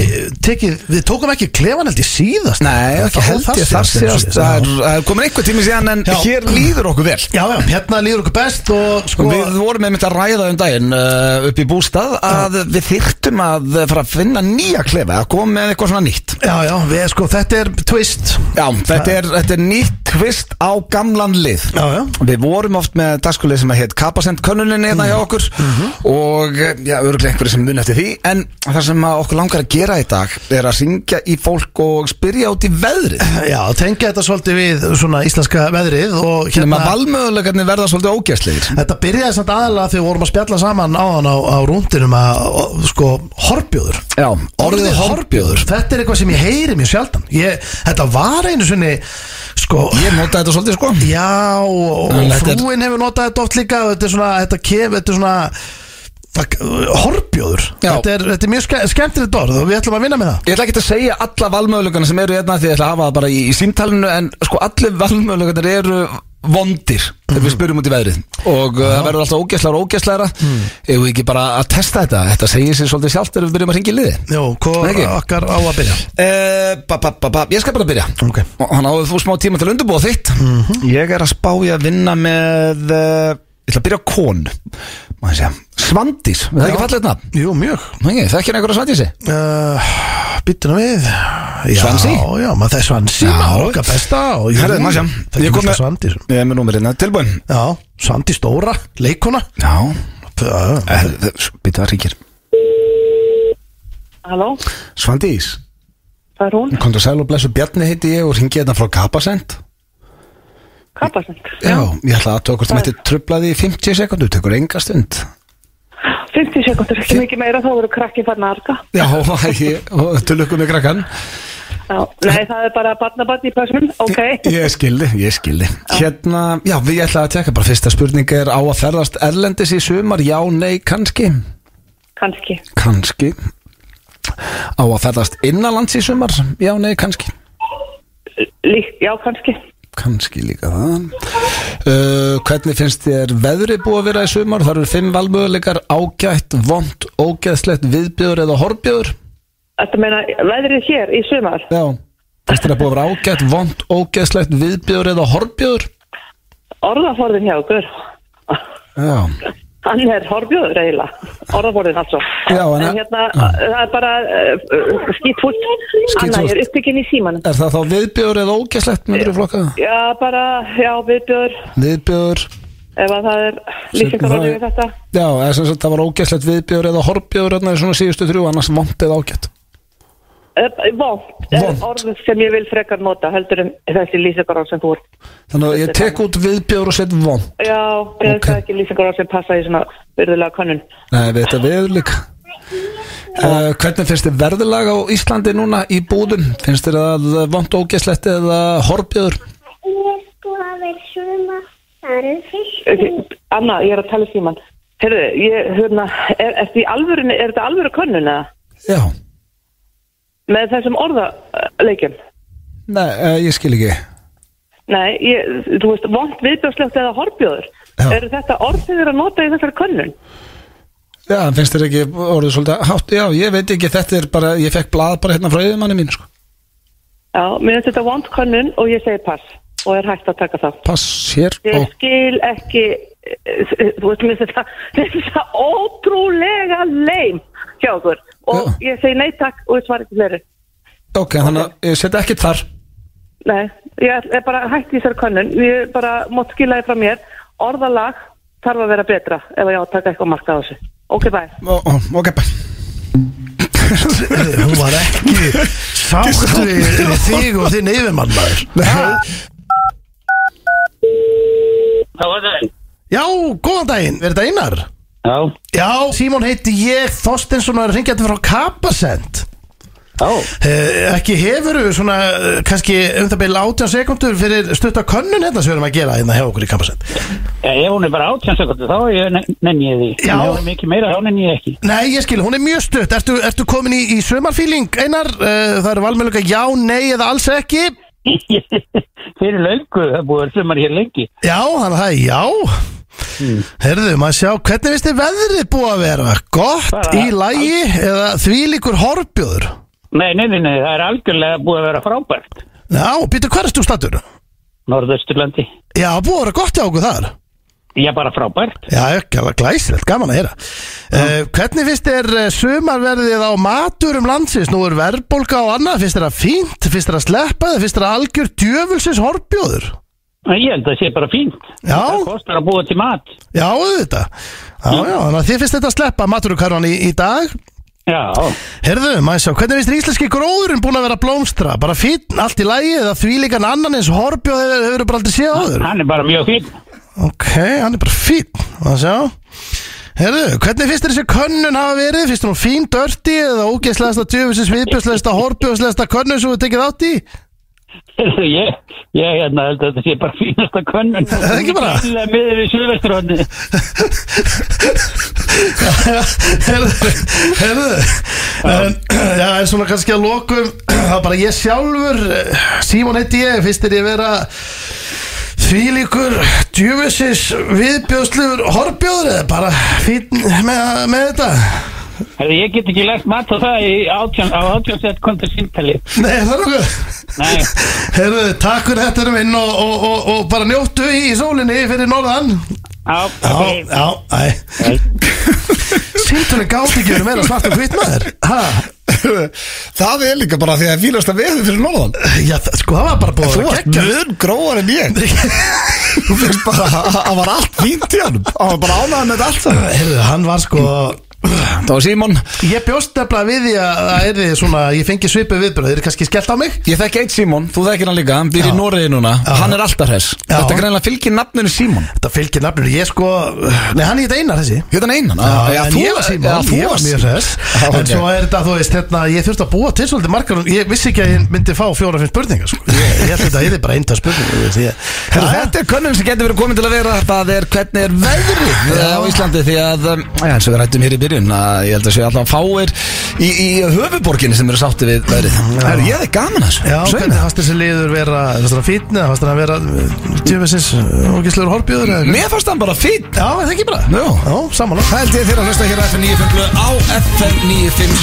tekið, við tókum ekki klefan held ég síðast
Nei, ekki held ég þar síðast Það er- það er komin einhver tími síðan En
Já.
hér líður okkur vel
Já, já, hérna líður okkur best og sko
Og við vorum einmitt að ræða um daginn uh, upp í bústað að við þyrtum að uh, fara að finna nýja klefa að koma með eitthvað svona nýtt
Já, já, við sko, þetta er twist
Já, þetta er, þetta er nýtt tvist á gamlan lið
Já, já.
Við vorum oft með dagskulið sem að heit Kapasend könnuninni hérna hjá okkur og eh, já, öruglega einhverju sem mun eftir því en það sem að okkur langar að gera í dag er að syngja í fólk og spyrja út í veðrið
Já, tengja þetta svolítið við svona íslenska veðrið og
Nefnum
hérna
að valmöðulegarnir verða svolítið ógæstlegir
Þetta byrjaði samt aðalega þegar við vorum að spjalla saman áðan á, á rúndinum að, og, sko, horbjóður
Já, orðið horbjóður
Þetta er eitthvað sem ég heyri mjög sjaldan ég, Þetta var einu sinni, sko
Ég notaði þetta svolítið sko
Já, og
En þetta er-
frúin hefur notað þetta oft líka og þetta er svona, þetta kef, þetta er svona fuck, Horbjóður
Já.
þetta er, þetta er mjög ske- skemmtilegt orð og við ætlum að vinna með það
Ég ætla ekki að segja alla valmöðlugana sem eru hérna því ég ætla að hafa það bara í, í símtalinu en sko allir valmöðlugarnir eru vondir þegar við spyrjum út í veðrið og uh, það verður alltaf ógæslar og ógæslara mm. ef við ekki bara að testa þetta þetta segir sér svolítið sjálft þegar við byrjum að ringa í liði
Jó,
Nei,
hvað
ekki.
okkar á að byrja
uh, ba, ba, ba, ba, Ég skal bara byrja Mhm.
Ok.
og hann áður þú smá tíma til að undirbúa þitt eh, Ég er að spá ég að vinna með uh, ég ætla að byrja á konu má ég segja Svandís, er það ekki fallið nafn?
Jú, mjög
Nei, þekkir einhverja Svandísi?
uh, Býtuna við já,
Swansea?
Já, maður það er svansi
Já.
Okkar besta og jú,
Herðu, maður sjá.
Það
Ég
er
kom
mjög
með-
svandi
Ég er með númerinn, tilbúin
Já, svandi stóra, leikona
Já, Eh,
Já,
býta það ríkir
Halló,
Svandís,
það er hún,
kom þú sæl og blessu Bjarni heiti ég og ringi þetta frá Kapasend
Kappasend.
Já, ég ætla að athuga hvort þú mætti trublaði í 50 sekundu, tekur enga stund
50 sekundur, ekki mikið meira, þá voru krakkin farin að arga.
Já, ég- og til lukku með krakkan
Já, nei, það er bara barnabarn í pössun, ok.
Ég skildi, ég skildi Hérna, já, við ætla að teka bara fyrsta spurning er á að ferðast erlendis í sumar Já, nei, kannski
Kanski,
Kannski Á að ferðast innanlands í sumar Já, nei, kannski
líkt, já, kannski.
Kannski líka það uh, Hvernig finnst þér veðri búið að vera í sumar? Það eru fimm valmöguleikar Ágætt, vond, ógeðslegt, viðbjöður eða horbjöður
Þetta meina, veðrið hér í sumar,
Já Finnst þér að búið að vera ágætt, vond, ógeðslegt, viðbjöður eða horbjöður?
orðaforðin hjá okkur,
Já
hann er horfjóður eiginlega, orðaforðin altså.
Já, en-
en hérna, það er bara uh, skýtfullt,
Skítfúlt.
annað, ég er uppbyggin í símanum.
Er það þá viðbjöður eða ógeðslegt, myndur við flokka það?
Já, bara, já, viðbjör,
Viðbjöður
ef að það er lýsingarorðið við þetta.
Já, eða sem sagt það var ógeðslegt viðbjöður eða horbjöður þarna í svona síðustu þrjú annars vond eða ágætt
Eh, Vont er
Vont.
orð sem ég vil frekar nota heldur um þessi lýsingaráð sem þú ert
Þannig að ég tek út viðbjöður og set vond
Já, okay.
Ok.
það er ekki lýsingaráð sem passa í svona virðulega kannun
Nei, við þetta veður líka uh, Hvernig finnst þér verðulag á Íslandi núna í búðum? Finnst þér að vond ógeðslegt eða horbjöður?
Ég er sko að vera svona Það eru fyrst
Ok, Eh, Anna, ég er að tala síman Herðu, ég, hérna, er, er, er, alvöru, er þetta alvöru kannun eða?
Já,
Með þessum orðaleikjum
nei, uh, ég skil ekki
Nei, ég, þú veist, vont viðbjörslegt eða horbjóður
Já.
Eru þetta orð sem þeir að nota í þessari kannun?
Já, en finnst þér ekki orðið svolítið hátt? Já, ég veit ekki, þetta er bara, ég fekk blað bara hérna frá yfirmanni mín, sko
Já, mér finnst þetta vont kannun og ég segi pass og er hægt að taka það
Pass hér
Ég
og
skil ekki, eh, eh, þú veist, mér finnst þetta- mér finnst þetta ótrúlega leim hjá okkur og ég segi nei takk og ég svar ekki fleiri.
Ok, þannig að ég set ekki þar
Nei, ég ætl- er bara hægt í þessar könnun, ég er bara mótt skila þið frá mér, orðalag þarf að vera betra ef ég á að taka eitthvað marka á þessu. Ok, bæ.
Ó, ó, Ok, bæ
Hún var ekki sátt við við þig og þinn yfirmann maður
Það var það.
Já, góðan daginn, verður þetta einar?
Já,
Já, Símon heiti ég, Þorstinsson er ringjandi frá Kapasend
já,
Eh, Ekki hefur við svona eh, kannski um það byrja 18 sekundur fyrir stutta könnun hérna sem við erum að gera hérna hjá okkur í Kapasend
e, ef hún er bara átján sekundu þá ég- nen- nenni ég því.
Já.
En ef hún er mikið meira þá nenni ég ekki.
Nei, ég skil, hún er mjög stutt Ertu, ertu komin í, í sömarfíling, Einar? Uh, það eru valmjöluga já, nei eða alls ekki
Fyrir löngu, það er búið að vera sumar hér lengi.
Já, þannig að það er já Herðu, maður sjá, hvernig finnst þið veðrið búið að vera? Gott,
Bara-
í lagi eða þvílíkur horfbjóður?
Nei, nei, nei, nei, það er algjörlega búið að vera frábært.
Já, býttu, hvað erst þú stattur?
Norðausturlandi.
Já, búið að vera gott hjá okkur þar
Já, bara frábært.
Já, ekki alveg glæsilegt, gaman að heyra uh, Hvernig finnst þér eh, sumarverðið á maturum landsins? Nú er verðbólga og annað, finnst þér að fínt? Finnst þér að sleppa það? Finnst þér að algjör djöfulsins horfbjóður?
En Ég held að það sé bara fínt.
Já.
Það kostar að búa til mat.
Já, auðvitað Já, já, þannig að þið finnst þetta að sleppa maturukarvan í, í dag
Já,
Herðu, maður sjá, hvernig finnst þér íslenski gróðurinn búin að vera að blómstra? Bara fín, allt í lagi eða því líkan annan eins horfbjóð hefur, hefur bara aldrei séð áður?
hann er bara mjög fín.
Ok, hann er bara fín, maður sjá Herðu, hvernig finnst þér þessi könnun hafa verið? Finnst þér hún fín, dörti eða ógeðslegasta, djöfisins, viðbjörslegasta, horfbjóðslegasta könnun sem þú tekið átt í?
Ég, ég hérna, held að þetta sé bara fínasta könnun. Það
er ekki bara-
Það er miður við Silveströndi.
Herðu, herðu en, Já, en svona kannski að lokum Það er bara ég sjálfur eh, Símon heiti ég, finnst þér ég vera Þvílíkur Djöfisins, viðbjóðslegur Horfbjóður eða bara fín með, með þetta?
Ég get ekki lært mat á það í átján, á átján sekundu síntali.
Nei, það er okkur
Nei.
Herðu, takk fyrir þetta minn og, og, og, og bara njóttu í sólinni fyrir norðan
Já,
Já,
ok.
já, æ
Nei.
Viðtölinn gátt ekki verið meira svart og hvitt maður ha?
Það er líka bara því að fýlast að veður fyrir norðan
Já, það- sko, það var bara búið að
Þú
vera
varst
geggjað.
mun gróðar en ég Þú finnst bara að það var allt fínt í hann Það var bara ánægð með þetta allt saman
Heyrðu, hann var sko
Það var Simon
Ég bjóst nefnilega við því að það er svona Ég fengi svipu viðbröð, þeir eru kannski skellt á mig
Ég þekki eitt Simon, þú þekkir hann líka, hann býr í
Já.
Noregi núna
Já.
Hann er alltaf hress
Já.
Þetta greinlega fylgir nafninu Simon
Þetta fylgir nafnir, ég sko Nei, hann er þetta einar þessi
Hérna einan
Ah, Já,
Já,
en
þú
ég var
varst-
Simon,
já, þú
ég var
varst-
mjög hress
Já,
En
ok.
svo er þetta, þú veist, hérna, ég þurfti að búa til svolítið margar Ég vissi ekki að ég myndi fá fjóra-fimm spurningar sko. Ég ég held þetta að ég er bara einta spurningar þú veist, ég-
Herru,
Já, já.
þetta er könnum sem getur verið komin til að vera Það er hvernig er veðrið eh,
Já.
á Íslandi Því að, um, já, eins og við rættum hér í byrjun að Ég held að sé alltaf fáir í, í höfuborginni sem eru sátti við veðrið Herru, ég hefði gaman að þessu
Já,
Sveina.
hvernig fannst þessi liður vera Fannst það fítni, fannst það vera Tjöfessins ógislegur horfbjöður eða eitthvað?
Mér fannst hann bara fín
Já, er það ekki bara
Já.
Já, samanlók
Það held ég þér að hlusta hér á FM 957 á FM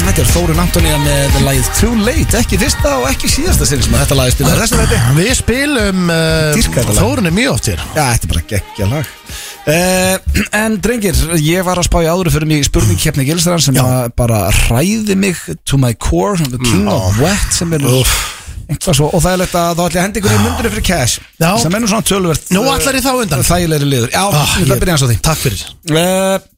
957 Þetta er Þórun Antonía með lagið Too Late Ekki fyrsta og ekki síðasta sinn sem að þetta lagið spila Þessum þetta
Við spilum
Dýrka
uh,
þetta lag.
Þórunni mjög oft hér
Já, þetta er bara geggja lag uh, En drengir, ég var að spá í áður fyrir mig spurning keppni Gilsran sem að bara ræði mig to my core the king
Mm,
of wet sem er einhvað svo og það er lett að þá ætla ég að henda ykkur í mundinu fyrir cash
Ah. Já.
sem er nú svona tölvert
Nú ætlar ég þá undan
þægilegri liður Já,
Ah,
ég ætla að byrja eins á því
Eh, Takk fyrir
Eh,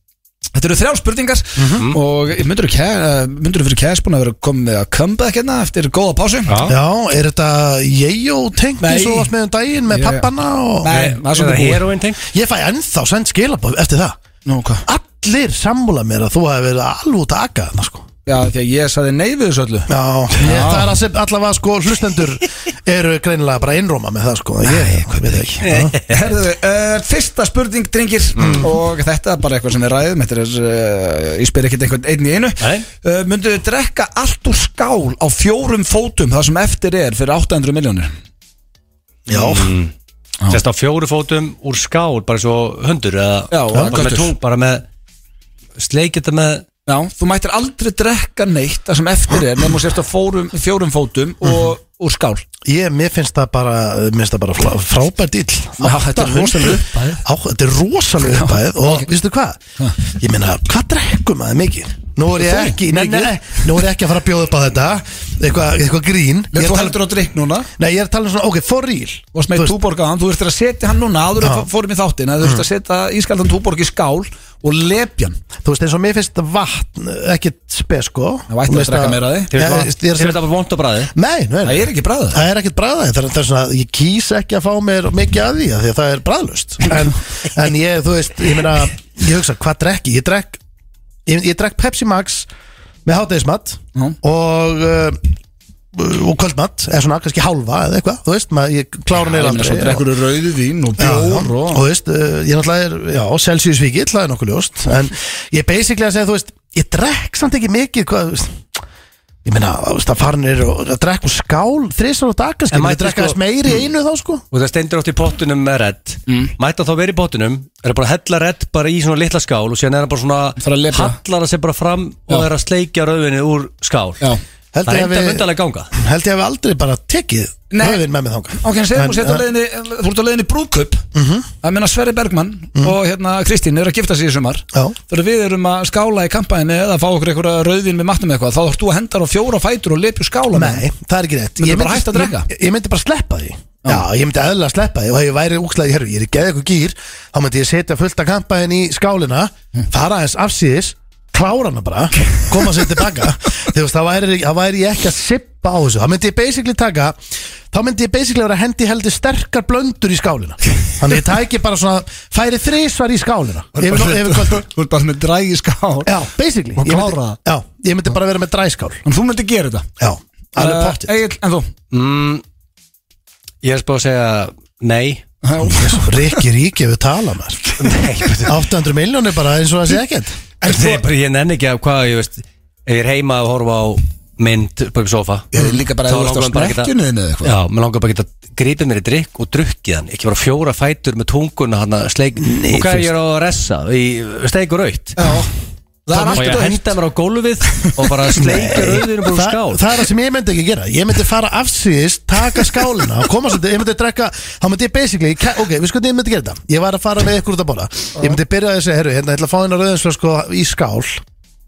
Þetta eru þrjár spurningar
Mhm.
og myndur þú fyrir kæs búin að vera komið með að comeback hérna eftir góða pásu?
Já.
Já, er þetta ég og tengi
Nei.
svo oft með um daginn með
Ég-
pappana og
Nei, það er svolítið búið.
heroin teng
Ég fæ ennþá send skilabóð eftir það
Nú, hvað?
Allir sammála mér að þú hefði verið alveg út að aga þarna sko
Já, því að ég saði nei við þessu öllu.
Já, ég, það er að sem allavega sko hlustendur eru greinilega bara innróma með það sko Ég, hvað veit ekki Já.
Herðu, uh, fyrsta spurning, drengir,
Mm.
og þetta er bara eitthvað sem við ræðum, þetta er, uh, ég spyr ekkert einhvern einn í einu.
Nei.
Uh, myndu þið drekka allt úr skál á fjórum fótum, það sem eftir er, fyrir 800 miljónir?
Já,
Sérst á fjóru fótum úr skál bara svo hundur eða
Já,
bara
köttur.
með tung bara með sleik þetta með
Já, þú mættir aldrei drekka neitt, það sem eftir er, nefnum sérst á fórum, fjórum fótum og
Mhm.
úr skál.
ég, mér finnst það bara, mér finnst það bara flá- frábær dill
Já, þetta er rosaleg upphæð.
Á, Þetta er rosalega uppæð og vistu hvað, ég meina, hvað drekkum maður mikið? Nú er ég
Þú?
ekki, nei, nei, nei, nú er ég ekki að fara að bjóða upp á þetta Eitthvað eitthva grín Ég
Ég þú
er að tala-
heldur á drikk núna
Nei, ég er að tala um svona, ok, for real
og smæði
Þú veist, Mm.
túborg á hann, þú ertur að setja hann núna áður en fórum í þáttin, að þú ert að setja ískaldan túborg í skál og lepja hann
Þú veist, eins og mér finnst vatn, ekkit spes sko
Það ætti að
Mér finnst
drekka meira af því.
Þið
Nei,
veist
ég er að
þetta
segja-
bara vont á bræði
Nei, nei,
það
nei
er ekki bræða
Það er ekkert bræðaði, það er, það er svona, ég kýs ekki að fá mér mikið að því, af því að það er bræðlust en, en ég, þú veist, ég meina ég hugsa, hvað drekki? Ég drekk ég, ég drekk Pepsi Max með hátegismat
Já.
og uh, og kvöldmat, eða svona kannski hálfa eða eitthvað, þú veist, maður, ég klára mér aldrei
svo drekkur þú rauðu vín og
Já, já,
bjór
og
og
þú veist, uh, ég náttúrulega er já, Celsius vikið, það er nokkuð ljóst en ég er basically að segja, þú veist ég drekk samt ekki mikið, hvað, þú veist ég meina, þú veist, það farinir og að drekk úr skál, þrísar og dag kannski,
En
maður
mætti
drekk
sko-
aðeins meiri í einu þá, sko
og það stendur átt í pottunum með redd
Mm.
mæta þá verið í pottunum er bara að hella redd bara í svona litla skál og síðan er hann bara
Þarf að
svona
lepja.
hallar það sér bara fram
Já.
og er að sleikja rauðinni úr skál
Já.
það
Heldur
er
ég
enda
að við-
myndalega ganga
held ég að við aldrei bara tekið
Nei.
höfðin með mig þangað
ok, en
En, Mhm.
segjum þú setja
eh,
leiðinni þú ert á leiðinni í brúðkaup það meina Sverri Bergmann
Mhm.
og hérna Kristín eru að gifta sig í sumar
Já.
þegar við erum að skála í kampæni eða fá okkur einhverja rauðin með matnum eitthvað þá ert þú að henda hann á fjóra fætur og lepju skála með
Nei, það er ekki rétt
Myndu
Ég
bara hætta að drekka?
Ég, ég myndi bara sleppa því Já, ég myndi aðlega sleppa því og ef ég væri úkslega í herru, ég er í geða eitthvað gýr þá myndi ég setja fullt að kampaðin í skálina
Hm.
fara aðeins afsýðis klára hana bara, koma sér tilbaka þú veist, þá væri, þá væri ég ekki að sippa á þessu, þá myndi ég basically taka þá myndi ég basically vera að hendi heldur sterkar blöndur í skálina þannig ég tæki bara svona, færi þrísvar í skálina yfir, yfir kvöldi
þú ert bara með drægi skál
Já, basically
Og
Ég myndi-
klára það.
Já, ég myndi bara vera með dræskál
en þú myndir gera þetta
Já, alveg
Eh,
pottið
Egill, en þú?
mm, ég er spáð að segja nei
Rikki Ríki við tala maður 800 miljónir bara eins og það sé ekkert
það er bara ég nenni ekki af hvað ég veist ef ég er heima að horfa á mynd upp á sofa
Ég er líka bara
Þá
að þú veist á
langar mig bara ekki að-
smekkjunni þinni eða eitthvað
Já, mér langar bara að geta gripið mér í drikk og drukkið hann ekki bara fjóra fætur með tunguna hann að sleik og hvað ég er á að ressa í steik og raut
Já, Það er
Og
allt
ég
dautt.
henda mér á gólfið og bara sleika rauðinu búin
Þa,
skál
það er það sem ég myndi ekki gera Ég myndi fara afsýðist, taka skálina og koma svolítið, ég myndi drekka þá myndi ég basically, ke- ok, við skoðum ég myndi gera þetta ég var að fara með ykkur út að bóla ég myndi byrja að segja, herru, hérna, ég ætla að fá hérna rauðinslösku í skál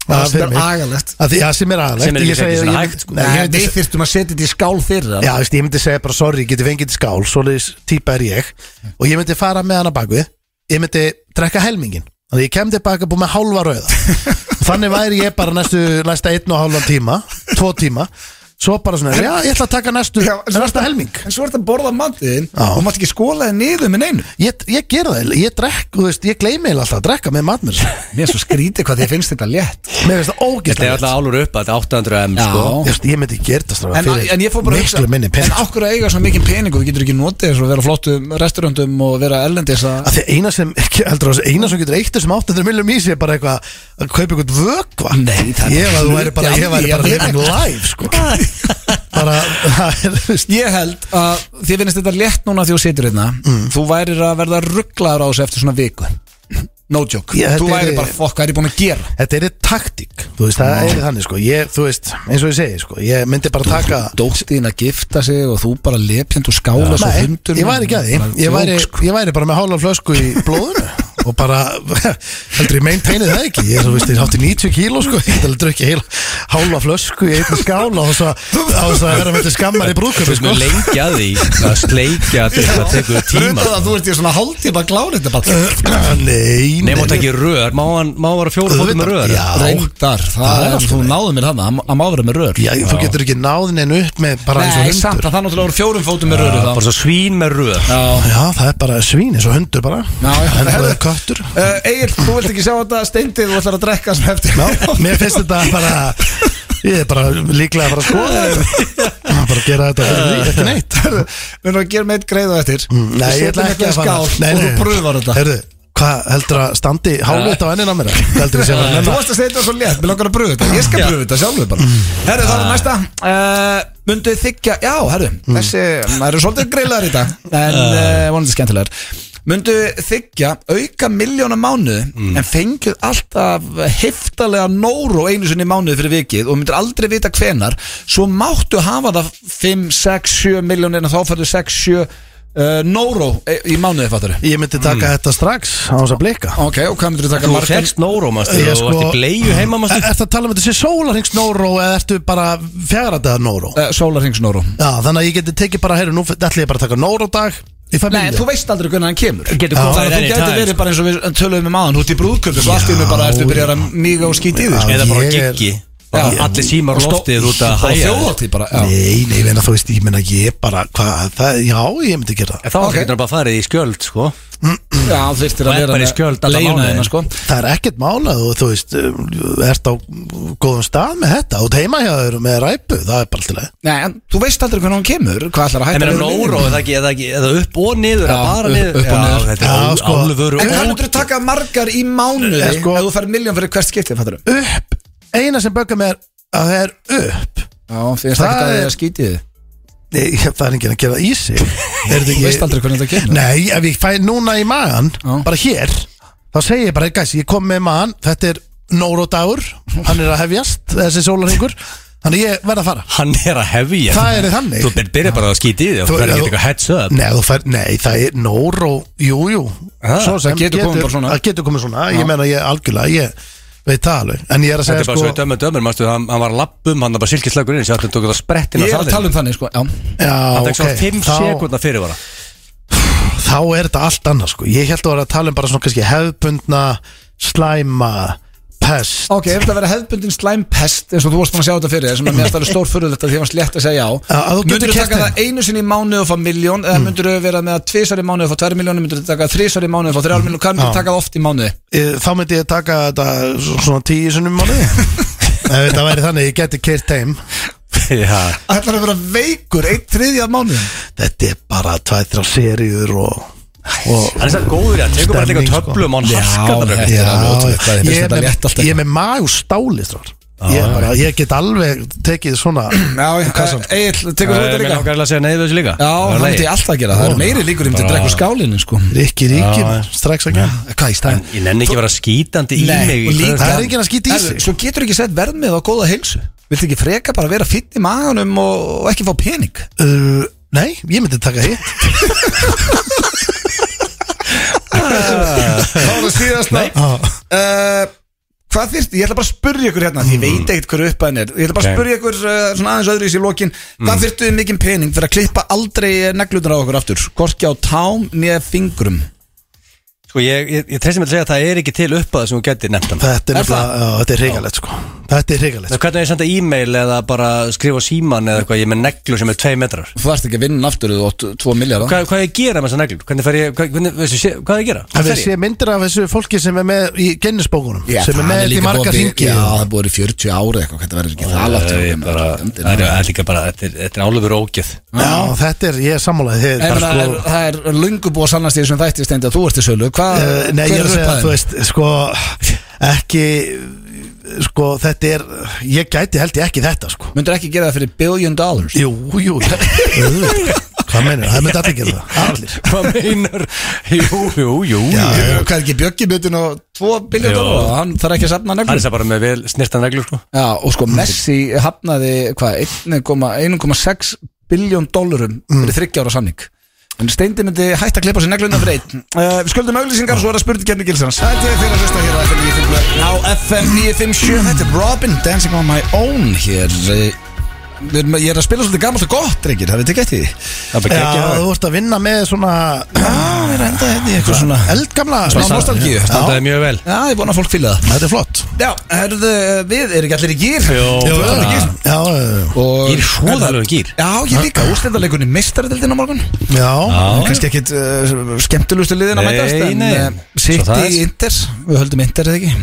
Það
Það
sem
fyrir
er
mig.
agalegt.
Að því- Já, sem er agalegt
Sem er
Ég
ekki
segi-
ekki
ég
svona
myndi-
hægt, sko.
Nei, ég
Nei,
myndi
við þyrstum að setja þetta í skál fyrir hann
Já, veist, ég myndi segja bara sorry, geti fengið til skál svoleiðis típa er ég og ég myndi fara með hana bakvið ég myndi drekka helmingin þannig að ég kem tilbaka búið með hálfa rauða og þannig væri ég bara næstu næsta einn og hálfan tíma, tvo tíma svo bara svona, já, ég ætla að taka næstu
Já, en svo-
næsta helming
En svo er þetta að borða mandiðin
Já.
og mátt ekki skóla þið niður með neinu
ég, ég ger það, ég drekk, þú veist, ég gleymi eiginlega alltaf að drekka með matnir
Mér er svo skrítið hvað þið finnst þetta létt
mér finnst það
Þetta er
ógæslega
alltaf álur upp að þetta er 800 m sko.
Já.
ég, ég myndi gera þetta strafa
En, en ég fór bara að hugsa,
miklu minni
En
pening
okkur að eiga svo mikinn pening og við getur ekki notið þess að vera á flottum restaurandum og vera erlendis að
að því að eina sem, ekki, heldur, þú, eina sem getur eitt þessum 800 miljum í sig er bara eitthvað að kaupa eitthvað vökva
Nei, það er
ég,
bara
að þú væri bara,
hluti
ég væri
af því
bara
að
living
vera-
life sko. bara, það er, þú veist,
Ég held að þið finnst þetta létt núna því þú situr hérna Þú værir að verða rugglaður á þessu eftir svona viku No joke
Ég, þetta
Þú væri
er-
bara fokk, hvað er ég búin að gera?
þetta er eitt taktík þú veist, það er þannig sko. ég, þú veist, eins og ég segi sko. ég myndi bara taka
Dóttin að gifta sig og þú bara lepjand og skála svo
Nei,
hundur
ég væri ekki að því ég væri, ég væri bara með hálfa flösku í blóðinu og bara, heldur ég meinteinið það ekki ég er svo veist, ég hátti 90 kíló sko ég heldur ekki heil, hálfa flösku í einn skála og svo að vera með þetta skammar í brúðköpi
Þú
sko.
veist, lengja því að sleikja því það tekur tíma
Röndað að þú ert í svona hálftíma að klára þetta bara
Ah, Nei,
Nefn að ekki rör, má hann má vera fjóra
Auðvitað,
fótum með rör
já.
Reyndar, það er þú náðu mér hann að má vera með rör
sko- Já, þú getur ekki náðin en upp með bara eins og
Nei,
hundur
samt að það náttúrulega voru fjórum fótum með röru
Já, Bara
þá
svo svín með rör
Já
Já, það er bara svín eins og hundur bara
Já, já.
En það er köttur
Uh, Egil, þú vilt ekki sjá þetta steindið og ætlar að drekka sem hefði
Já, mér finnst þetta bara Ég er bara líklega að fara að skoða þetta Bara gera þetta
Eh,
fyrir því, þetta er neitt
Við erum að gera meitt greið á eftir
Mm, Nei, ég ætla ekki að fara Nei,
Og
nei.
þú pröfar þetta
Heyrðu, hvað heldur að standi hálfut á ennin á mér? Heldur að sé að
Þú
nenna
varst að segja þetta svo létt, mér langar að pröfa þetta Ég skal pröfa þetta sjálfur bara Herru, það er næsta uh, Munduð þykja, já, herru Þessi, það eru svolítið greiðlegar í dag En uh, vonandi skemmtilegar Munduð þykja auka miljóna mánuð En fengjuð alltaf heftalega nóru einu sinni í mánuð fyrir vikið Og myndir aldrei vita hvenar Svo máttu hafa það 5, 6, 7 miljónir En þá færðu 6, 7 uh, nóru í mánuði, fattur
Ég myndi taka
Mm.
þetta strax á þess að blika
Ok, og hvað myndir þú taka um?
Þú
margar?
fegst nóró, manstu,
Ég
þú vart í
sko-
bleiðu heima, manstu
Ertu að tala um þetta sé sólarings nóró eða ertu bara fjagradaða nóró?
Uh, Sólarhingsnóru
Já, þannig að ég geti tekið bara, heyrðu, nú ætla ég bara að taka nóra dag Ég fæ
Nei,
bílinn.
þú veist aldrei hvernig hann kemur
Getur
Já,
komið
Þannig að
any
þú gæti
time,
verið
sko.
bara eins og við töluðum um aðan Þú ert í brúðkvöldu Svo allt í hennu bara ertu byrjar að míga og skýti í því
Já,
Eða bara
ég er-
giggi Bara
Já.
Allir símar á loftið út að hæja
Þjóðhátti bara já.
Nei, nei, menna, þú veist, ég menna, ég bara, hvað, það, já, ég myndi gera það.
En Þá
Ok.
getur hann bara farið í skjöld, sko
Já, þú þurftir
Og
að
er
vera
bara í skjöld alla mánuðina.
leiguna sko.
Það er ekkert mála, þú, þú veist, um, ert á góðum stað með þetta, út heima hjá þér með ræpu, það er bara alltaf leið.
Nei, en þú veist aldrei hvernig hann kemur Hvað ætlar að
En
hætta
meina
við
nóró,
leigunni?
eða ekki, eða ekki, eða upp og niður, eða
Já,
bara
upp-
niður
upp og niður.
Já, þetta
Já,
er
sko.
ó-
En
álfur
hvað
og
myndir þú taka margar í mánuði
Eh,
En sko-
Ef þú fær miljón fyrir hvert skipti, fattur
Upp, eina sem böggar mig er að það er upp.
Já, finnst
Það
ekki að
er-
það er skítið
Nei, það er enginn að gera það í sig. Er þetta
Þú veist aldrei hvernig þetta kemur
Nei, ef ég fæ núna í magan,
Já.
bara hér, þá segi ég bara, gæs, ég kom með magan, þetta er nóródagur, hann er að hefjast, þessi sólarhengur, þannig ég verð að fara.
Hann er að hefja
Það er þannig.
Þú byr- byrjar bara að skýti í því
Þú-
og þú verður
þú-
ekki eitthvað heads up
Nei, þú fær, nei, það er nóró, jú, jú
Ha,
Svo sem
Ah, það getur komið bara svona.
Það getur komið svona, ég meina ég algjörlega, ég veit það alveg En ég er að
Þetta
segja
er bara svo
sko
í dömur dömur, mástu, hann, hann var að lappum, hann var bara silkislagur inn, sér hann tók það sprettin
Ég er að tala um þannig, sko Já,
Já,
Það tók
ok,
svo 5
þá,
sekundna fyrirvara
þá er þetta allt annað sko Ég held að vera að tala um bara svona kannski hefðbundna, slæma, pest
Ok, ef þetta verið hefðbundin slæmpest eins og þú varst búin að sjá þetta fyrir þér, sem er mér alltaf stór fyrir þetta því að var slétt að segja já
Já, að þú getur Mm.
Myndur þú
keypt
taka
þetta.
það einu sinni í mánu og fá miljón eða myndur þú vera með að tvisar í mánu og fá tvær miljónu myndur þú taka þrísar í mánu og fá þrjár miljónu hvað myndur þú taka það oft í mánu
Eh, Þá myndi ég taka þetta svona tíu sunnum mánuði Ef þetta væri þannig, ég geti kert heim
Já,
Ætlar að vera veikur eitt þriðja mánu
Þetta er bara tvæð, þrjá seriur og, og
hann er svo góður, hann tekur bara líka
Stemning, sko.
töflum og hann
Já,
harkar það
þetta er
bara.
alveg ótrúlegt hvað þið finnst
ég er
þetta
með-
létt alltaf.
Ég er með magu stáli strákar. ég, bara, ég get alveg tekið svona
Já,
sko.
Egil, tekur þú þetta
Mér
líka?
langar eiginlega að segja nei við þessu líka
Já, hann myndi
ég
alltaf að gera það Það eru meiri líkur um til að drekka úr skálinni sko
Rikki Ríki
Já, já.
strax að gera
Hvað í stæðin?
Ég nenni ekki að vera skítandi í mig í hverju-
það er enginn að skýta í sig.
Svo getur ekki sett verðmið á góða heilsu Viltu ekki freka bara vera fýtt í maganum og, og ekki fá pening?
uh, Nei, ég myndi taka hitt
Þá er það síðast uh, Hvað þyrst, ég ætla bara að spyrja ykkur hérna Því ég veit ekkert hverju uppæðin er Ég ætla bara að
Ok.
spyrja ykkur uh, svona aðeins öðru í sér lokin
Mm.
Hvað þyrftu þið mikinn pening fyrir að klippa aldrei neglunar á okkur aftur? Korki á tám nýja fingrum
Sko ég, ég, ég treysti mig að segja að það er ekki til upp sem þú um. getur nefndan
Þetta er,
Er
er
það?
já, þetta er hrigalegt sko Þetta er hrigalegt sko.
Hvernig er ég að senda e-mail eða bara skrifa á síman eða eitthvað Ég er með neglu sem er 2 metrar
Þú þarfst ekki að vinna aftur eða 2 miljardar
Hvað, hvað ég gera með þessa neglur? Hvernig fer ég, hvað, hvernig, veistu, sé, hvað ég gera?
Það við sé myndir af þessu fólki sem er með í gennisbókunum sem er með þetta í marga ringi
Já, það er búið í 40 ári eitthvað Þetta verður ekki það látt
Það er Eh, bara, það er líka bara, þetta er- þetta er álöfur ógjöð
Já, þetta er, ég er sammálaðið Þið
En
er bara
það er,
sko
það er lungu búið að sannast í þessum þætti stendi að þú ert í sölu Hvað,
Uh, nei,
hver
ég er að segja,
upphæðin?
þú veist, sko, ekki, sko, þetta er, ég gæti held ég ekki þetta, sko.
Myndur ekki gera það fyrir billion dollars
Jú, jú, auðvitað. hvað meinir, það myndi allir gera það, allir.
Hvað meinar? Jú, jú, jú
Jú, Hvað er ekki bjöggi bjöttin á 2 billion
Jú.
dollara Hann þarf ekki að safna
Það er
neglum
það bara með vel snirtan neglur sko
Já, og sko Messi hafnaði hvað, 1,6 biljón dólarum fyrir 30 ára samning en Steindi myndi hætt að klippa sér neglunna fyrir einn uh, Við skuldum auglýsingar og svo er það spurning kemni gilsans Þetta er fyrir að hlusta hér á FM 957 Á FM 957, þetta er Robin Dancing on my own hér eh, við erum- Ég er að spila svolítið gamalt og gott, drengir, það veit ekki eftir því
Það er bara
Já,
ekki
þú vorst að vinna með svona,
Já, við erum enda hérna í eitthvað svona
eldgamla,
Smá nostalgíu.
Standaði mjög vel
Já, ég vona að fólk fýla það
Þetta er flott.
Já, herðu, við erum ekki allir í gýr
Jó,
Já,
bara-
já, já,
Og-
Ég er hróðalegur í gýr.
Já, ég líka, úrslitaleikunni meistaradeildin á morgun
já,
Já.
Kannski ekkit uh, skemmtulustu liðin að
Nei,
mætast en,
nei.
eh,
Svo það er-
City Inter, við höldum Inter eða ekki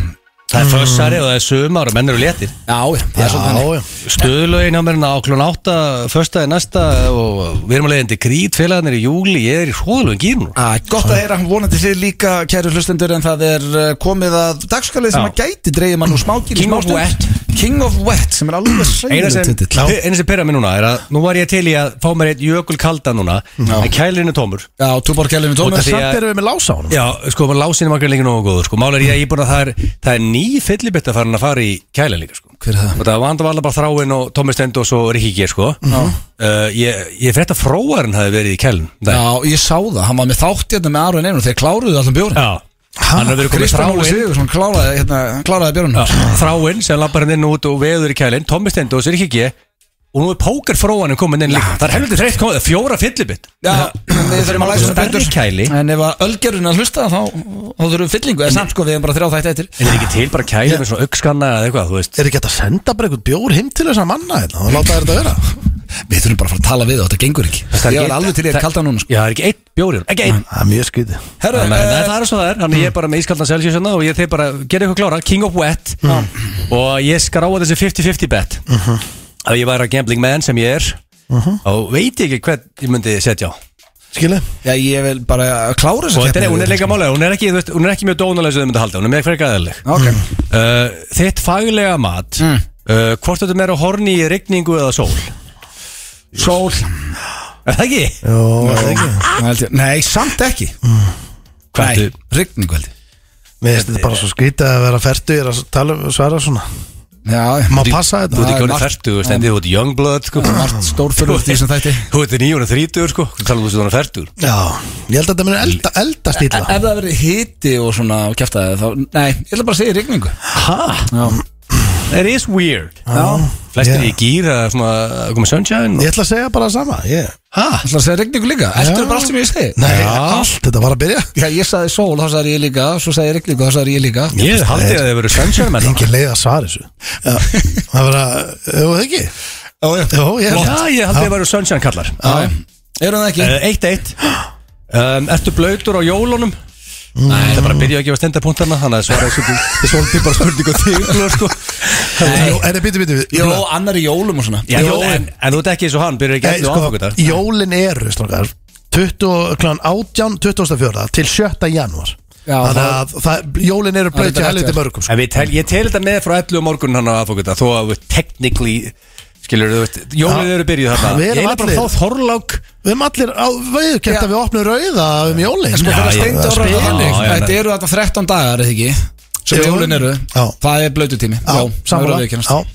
Já,
Það er fössari og það er sumar og menn eru léttir
já, það er svolítið
já,
þannig.
já.
Stöðlögin á mér á klun 8 Föstaði næsta og við erum að leiðandi krít Félagarnir í júli, ég er í hróðalögum gýr nú
Að, Gott að heyra, vonandi þið líka, kæru hlustendur En það er eh, komið að dagskalið sem
Já.
að gæti Dreigir mann úr smákinn
King of Wet.
King of Wet, sem er alveg
Eina sem,
sæðið
eina sem pyrra mér núna er að Nú var ég til í að fá mér eitt jökul kalda núna En kælirinn er tómur
Já, Túborg Kjellin
Út af
Tómas
því að-
Samt erum við með lása á honum.
Já, sko, maður lásin var ekki lengi nógu góður sko. Mál er ég að ég er búin að það er, það er ný fyllibetta farin að fara í kæla líka sko.
Hver er það?
Og það var andan bara þráin og Tómi Stend og svo Rikki G sko. uh, Ég, ég frétt að fróarinn hafi verið í um kælun
Já, ég sá það, hann var með þátt hérna með Arun Einar Þeir kláruðu allan bjórin
Já. Hann hafi verið komið
Kristján Óli
þráin
Sigursson kláraði, hérna, hann kláraði björnum
Já, Þráin sem lappar hann inn og út og veður í kælun Tómi Stend og svo Rikki G Og nú er póker fróarinn komin inn líka Það er helviti þreytt komið, það er fjóra fyllibett
Já, við þurfum að læsa
Stærri kæli.
En ef að ölgerðun að hlusta þá, þá þurfum við fyllingu En samt sko, við hefum bara þrjá þætti eittir
En er ekki til bara kæla með svona aukskanna eða eitthvað, þú veist
Er ekki hægt að senda bara einhvern bjór heim til þess að manna hérna og láta þér þetta vera?
Við þurfum bara að fara að tala við þá, þetta gengur ekki
Það er
Ég
ekki-
var alveg til ég
það-
að kalda núna sko.
Já, það er ekki einn bjórið, ekki einn
Það er mjög skytið.
Herru,
Þannig að
eh,
það er svo það er, Mm. þannig að ég er bara með ískaldan Celsius hérna og ég þeir bara, gera ykkur klára, King of Wet og ég skráa þessi 50-50 bet ef ég væri að gambling man sem ég er og veit ég ekki hvern ég myndi setja á
Skilið?
Já, ég vil bara klára
og
þess
þetta er, hún er leika málega, hún er ekki, þú veist, hún er ekki mjög dónalega sem þau myndi halda, hún er mjög frekar aðeinleg
Ok,
uh, Þitt faglega mat
Mm.
uh, hvort þetta meira horni í rigningu eða sól
sól
Er það ekki?
Jó, það er ekki.
Það held ég- Nei, samt ekki
Hvað
Nei,
ertu-
rigning held ég
Mér finnst þetta bara svo skrítið að vera færtur að tala um svara svona
Já,
Má passa
Þú
þetta
ert ekki
er
honum
margt-
30, þú veist, en þið ert youngblood sko.
margt stórfurðust í þessum þætti
Þú ert 930 sko, þú talar um þessu 40
Já, ég held að þetta muni elda, eldast
Ef
illa
það verið hiti og svona kjæftaði þá, nei, ég ætla bara að segja rigningu Já,
That is weird
já
Flestir
Já.
í gýr að svona að koma sunshine
Ég
og...
ætla að segja bara það sama ég.
Það ætla að segja regningu líka, eftir er bara allt sem ég segi
Nei, allt, þetta var að byrja
Já, ég sagði sól, þá sagði ég líka Svo sagði ég regningu, þá sagði ég líka
Ég haldi að það hefur verið sunshine með það
Engin leið að svara þessu Já, Það var að, hefur það ekki? Jó, ég held
Já,
að
ég haldi að það hefur verið sunshine kallar
Já, Eru það ekki?
Eh, Eitt eitt um, Ertu blöytur á jólunum? Nei, það bara byrja ekki að stenda punktana Þannig að svara þessu Ég svolítið bara spurning og tíklu sko.
Jó, En það býtu, býtu
Jó, annar í jólum og svona
Já,
Jólin.
en, en þú ert ekki eins og hann Byrjar ekki
Nei,
allir á
sko,
aðfangudag
Jólin eru, strókar 20, kl. 18, 24 til 7. janúar
Já,
Þannig
það-
að það- jólin eru blöð
Það
til
er
helviti
rétt,
mörgum sko.
En við tel, ég tel þetta með frá 11 og morgun hann á aðfókuta Þó að við technically Skilur þú veist, jólið
Já.
eru byrjuð þarna
Við erum
Ég er bara
allir-
að fá Þorlák
Við erum allir á veiðu
Já.
Kert að við opnum rauða um jólin
Sko
Já,
þegar
ég-
steindu
það
ára
spilar- Já, já,
Þetta
já.
eru þetta 13 dagar, eða ekki Sem
Jú.
jólin eru
Já.
Það er blöytutími Já, það verður að viðkennast.
samfóla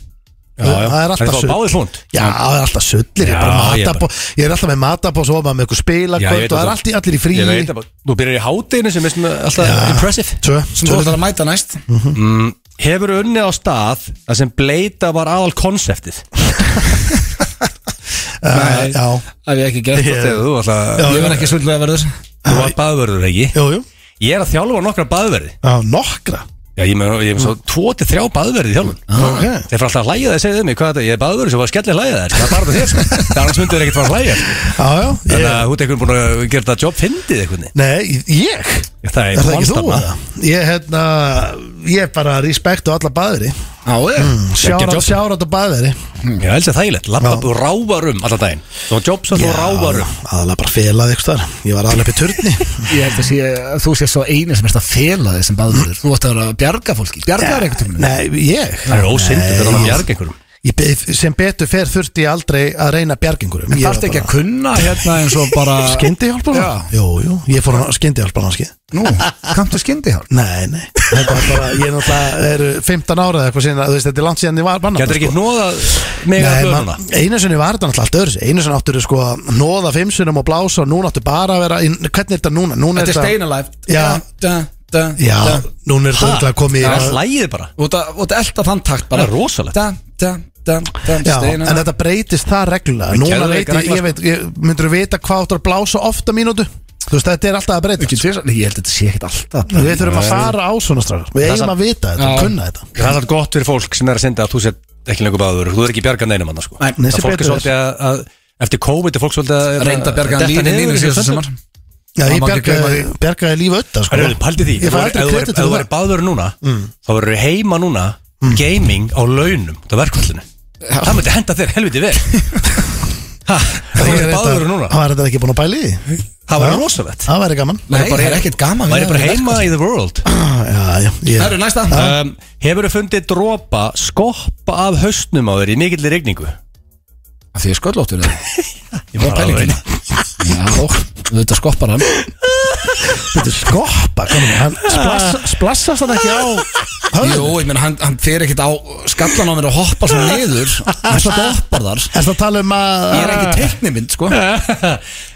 Það er alltaf
Það er
sull
báðið hlund
Já, það er alltaf sullir, ég er bara
Já, ég er
matabó Ég er alltaf með matabó, svo maður með ykkur spilakvöld og það er allir, allir í frí
Ég veit það, bara. Þú byrjar í hátinu sem er svona alltaf impressive
Tvö,
Sem þú
tvö
ætlar að mæta næst
Hefur unnið á stað Það sem bleita var aðal konseptið
Eh, Já,
Það hef ég ekki gert
Þegar Þú alltaf,
Ég verð ekki svolítið að verður
þú var baðverður ekki
jú, jú
Ég er að þjálfa nokkra baðverði
Já, nokkra
Já, ég með, ég með svo 2-3 baðverði í þjálfun
Mm. Ah, Ok.
Þeir fyrir alltaf að hlæja það, segðu mig hvað þetta Ég er baðverður sem var skellir hlæja það Það er bara þetta þér, sko. það er annars myndu þeir ekkert fara að hlæja sko.
Já, já
Þannig
ég-
að þú ert einhvern búin að gera þetta jobb fyndið einhvern veginn.
Nei, ég
Það
Er
er
það ekki þú?
monster, maður.
eða? Ég, hérna, ég er bara respekt á alla baðri
Já,
Mm,
ég
Sjárat,
jobb.
sjárat á baðri
Já, ég helst að þægilegt, lappa
Já.
og rávar um alltaf daginn Þú var jobb sem þú rávar um
Aðalega bara felaði ykkur þar Ég var aðalega upp í turni
Ég held að sé að þú sé svo eini sem erst að fela þig sem baður Þú ætti að vera að bjarga fólki Bjarga þér einhvern tímann
Nei, ég
Það er ósyndur þegar hann
Nei.
bjarga einhverjum
Ég beið- Sem betur fer þurfti ég aldrei að reyna bjargingurum
En þarfst ekki að kunna hérna eins og bara
Skyndi hjálpa
Já.
Jú, jú, ég fór á skyndi hjálpa námskið
Nú, kanntu skyndi hálf
Nei, nei, þetta er bara, ég er náttúrulega er 15 ára eða eitthvað síðan, þú veist, þetta er langt síðan ég var banna
Getur ekki nóðað mig að
sko. Nei,
blöðuna
man, einu sinni var þetta náttúrulega allt öðru einu sinni áttur sko að nóða fimm sinnum og blása og núna áttu bara að vera, inn- hvernig er þetta núna? núna
Þetta er steinalæf
Já. Já, núna er
Ha?
þetta örugglega komið í
Það er hlægið bara
Þú ert að- þú ert að elta þann takt bara
Það er rosalegt.
Da, da, da, da,
Já,
steina
en þetta breytist það reglulega Núna
geðveik
veit ég,
regla,
ég veit, ég, myndur þú vita hvað áttur að blása ofta mínútu? Þú veist, þetta er alltaf að breyta
Ég held að þetta sé ekkert alltaf
Við þurfum að fara á svona strafar Við
Það
eigum
samt-
að vita þetta,
Já.
kunna þetta
Það er alltaf gott fyrir fólk sem er að senda að þú sett ekki lengur báður Þú er ekki bjarga neinum annars sko
Nei,
nei, sem
Það fólk er
betur
svolítið að, að Eftir COVID er fólk svolítið að
Reynda að bjarga hann
detta
lífið
niður
mínu
í
síðast
þessu
sumar
Já,
Það
ég
má ekki
bjargaði,
gleyma
bjargaði líf ötta sko.
Það er paldið því
Ég fæ
Ef
aldrei
þú væri-
kredit
ef þú
fyrir
væri
það Mm.
báður núna Þá verður þú heima núna Gaming á launum Það er verkvallinu Það myndi henda þér helviti vel Ha, ef Þú
Ég
er
er
báður
þetta-
núna
Það var þetta ekki búin að bæli því
Það
Já.
var rosalegt
Það væri gaman
Nei, það er ekkert gaman við
Væri
það,
bara
við
heima í the world
Já, já, ég
Herru, næsta
um, Hefur þú fundið dropa skoppa af hausnum á þér í mikillir regningu?
Af Því ég sköllóttur þig
Ég var
pælingin. Já, þetta skoppar hann
Þetta er skoppa komin, hann splass, Splassast hann ekki á
Jú,
höfðinu
ég menn, hann, hann fer ekkert á skallan á mér að hoppa svo niður Hann skoppar þar
Er það að tala um að
Ég er ekki teiknimynd, sko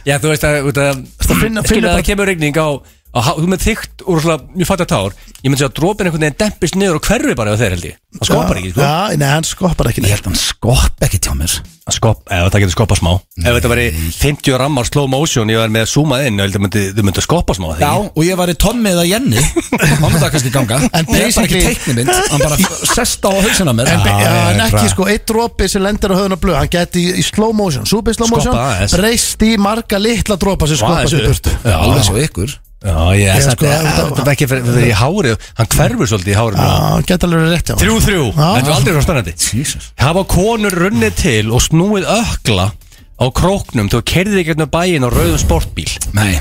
Já, þú veist að, út að
að finna-
Skilja
finna
að
bara-
það kemur regning á, á há- Þú með þygt úr svona, mjög fattar tár Ég myndi að dropin einhvern veginn dempist niður og hverfi bara á þeir held ég Það skoppar ekki, sko
Já, nei, hann skoppar ekki
Ég
neitt
held að hann skopp ekki hjá mér
Það skopp, eða það getur skoppað smá
Mm.
Ef þetta væri 50 rammar slow motion Ég var með að zooma inn og held að myndi, þau myndi skoppa smá
Já, og ég var í Tommi eða Jenny Hann myndi það kannski ganga Ég er bara ekki
basically-
teiknimynd Hann bara sest á hausinn á mér
En, já,
ég
en
er
ekki
bara-
sko, eitt dropi sem lendir á höfðinu blöð Hann geti í, í slow motion, super slow
Skoppa
motion
aðeins.
Breyst í marga litla dropa sem skoppa
aðeins
sér
upp.
burtu
Já, alveg svo ykkur
Já, ég,
Ég,
þetta
sko,
er-
þetta-
þetta er ekki fyrir, fyrir í hárið Hann hverfur svolítið í hárið
Já, hann geti alveg verið rétt hjá
Þrjú, þrjú,
Já.
þetta er aldrei svo spennandi
Jesus
Hafa konur runnið til og snúið ökla á króknum þegar kerðið ekki hérna bæinn á rauðum sportbíl
Nei,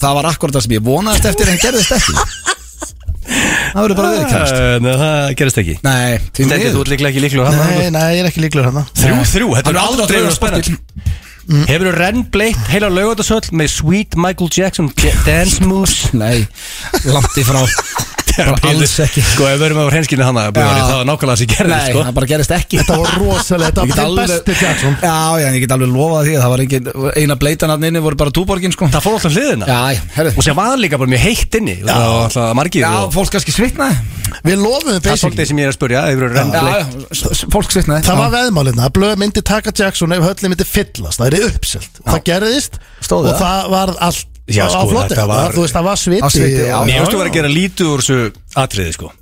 það var akkurat það sem ég vonaðist eftir en gerðist ekki Það verður bara viðkjast
Eh, Nei, það gerist ekki
Nei, því
Stendi, þú
miður
ert líklega ekki líklega
Nei, nei, ég er ekki líklegur hérna. hann
Þrjú, þrjú, þetta
Hann
er
er aldrei Mm.
aldrei
að
verið
rauða sportbíl.
spennandi Hefur þú rennbleitt heila laugatasöll með Sweet Michael Jackson ja- dance moves
Nei, langt í frá Bara alls ekki
Sko, ef við erum á hreinskinu hana, Björn,
Já.
það var nákvæmlega það sem gerði,
Nei,
sko
það bara gerist ekki
Þetta var rosalega, þetta
Ég
var
get
þinn
alveg-
besti Jackson
Já, já, en ég get alveg lofað því að það var engin Eina bleitan hann inni voru bara túborgin, sko
Það fór alltaf hliðina
Já, já, herðu
Og sem var líka bara mjög heitt inni og Það var alltaf margir
Já,
og
fólk kannski svitnaði
Við lofum
Það er svolítið
basically
sem ég er að spurja, hefur þú
Já,
rennbleitt
já, s- s- fólk svitnaði
Það var
Já.
veðmálinna að blöð myndi taka Jackson ef höllin myndi fyllast, það er uppselt og það gerðist
Stóð
og
það?
það var allt
Já,
á- á
sko,
flotti,
þetta var-
þú veist það var
Á
sviti,
sviti, já.
og-
Mér finnst þú vera að gera lítið úr þessu atriði sko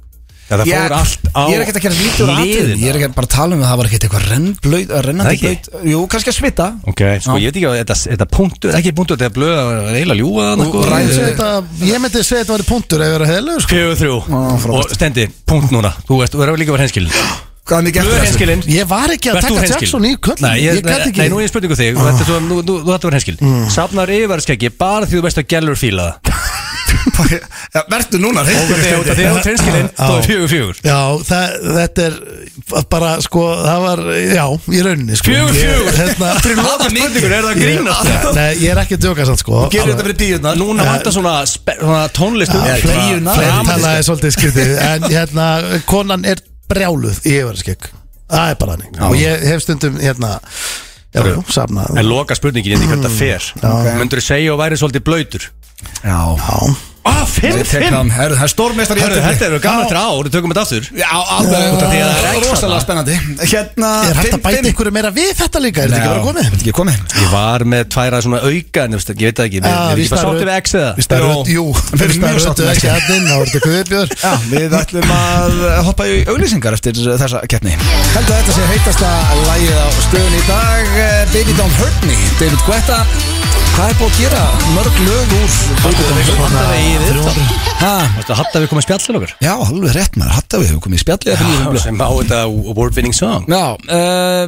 Það
Ég-
fór allt á
Ég er ekkert að gera lítur aðrið Ég er ekkert bara að tala um að það var ekkert eitthvað rennblöyt
Það
Rennandi
ekki?
blöyt Jú, kannski að svita
Ok, sko ég veit ekki að þetta, þetta punktur Ekki punktur, þetta er blöð að reyla ljúga þarna,
Og
Ég
sko.
myndi
ræður.
Eh,
segja þetta- Ég myndi segja þetta var punktur ef ég verið heilugur sko.
Fjögur þrjú
frábært.
Og stendi, punkt núna Þú veist, þú erum líka verið henskilin
Hvað er mikið
Blöð
eftir þessu?
henskilin
Ég var ekki að
Verð þú
taka
hreinskilin?
Jackson í köllin
Nei, ég,
Ég gæti ekki
nei, nú er
Mm.
ég spurningu þig Þú ætti að vera henskil Safnar yfirvarskeggi bara því þú veist að gælur fíla það
ja, Vertu núna
Og
hreistur í
þegar út af
stundi.
því að trinskilinn
Já.
Þá er fjögur fjögur
Já, það, þetta er bara, sko, það var, já, í rauninni, sko
Fjögur,
Ég-
fjögur.
Hérna,
Lata spurningur, er það að grínast?
ég, Nei, ég er ekki að djóka samt, sko
Gerir þetta fyrir bíuna
Núna vantar svona, spe- svona tónlist um
Já,
playuna.
fleiri
Fleiri
dramatíska.
talaði svolítið skrítið En hérna, konan er brjáluð í yfirskegg Það er bara þannig Og ég hef stundum, hérna, já, já, safnað
En loka spurningin, ég veit ekki hvernig það fer okay. Möndur þú segja og væri svolítið blöytur
Já,
Já,
Ah, fimm,
ég tek hann Herru, það er stórmeistar í
Hörru,
öllum.
þetta eru gaman eftir ár, við tökum þetta aftur
Já, alveg
Út af því að það er
Það er
ekki
rosalega spennandi Hérna
er hægt
fimm,
að bæta
fimm.
ykkur meira við þetta líka Er þetta ekki
Já,
bara komið?
Þetta ekki komið
Ég var með tværa svona auka, en ég veist ekki- ég veit það ekki Við
Já,
erum
víst
ekki
það
bara sáttið
eru-
við X eða
Við starfum, jú,
Við erum
við
mjög sáttir
starfum
við
ekki
X.
að þinn Þá er þetta guðbjör
Já, við ætlum að hoppa í auglýsingar eftir þessa keppni Held að þetta sé heitasta lagið á stöðun í dag eh, Baby Don't Hurt Me, David Guetta Hvað er búið að gera mörg lög úr Baby Don't Hurt
Hatta við í við
Me? Ha,
Varstu að hatta við komið spjall til okkur
já, alveg rétt maður, hatta við hefum komið í spjallið eftir nýjum blöð.
Sem á þetta award winning song
Já, uh,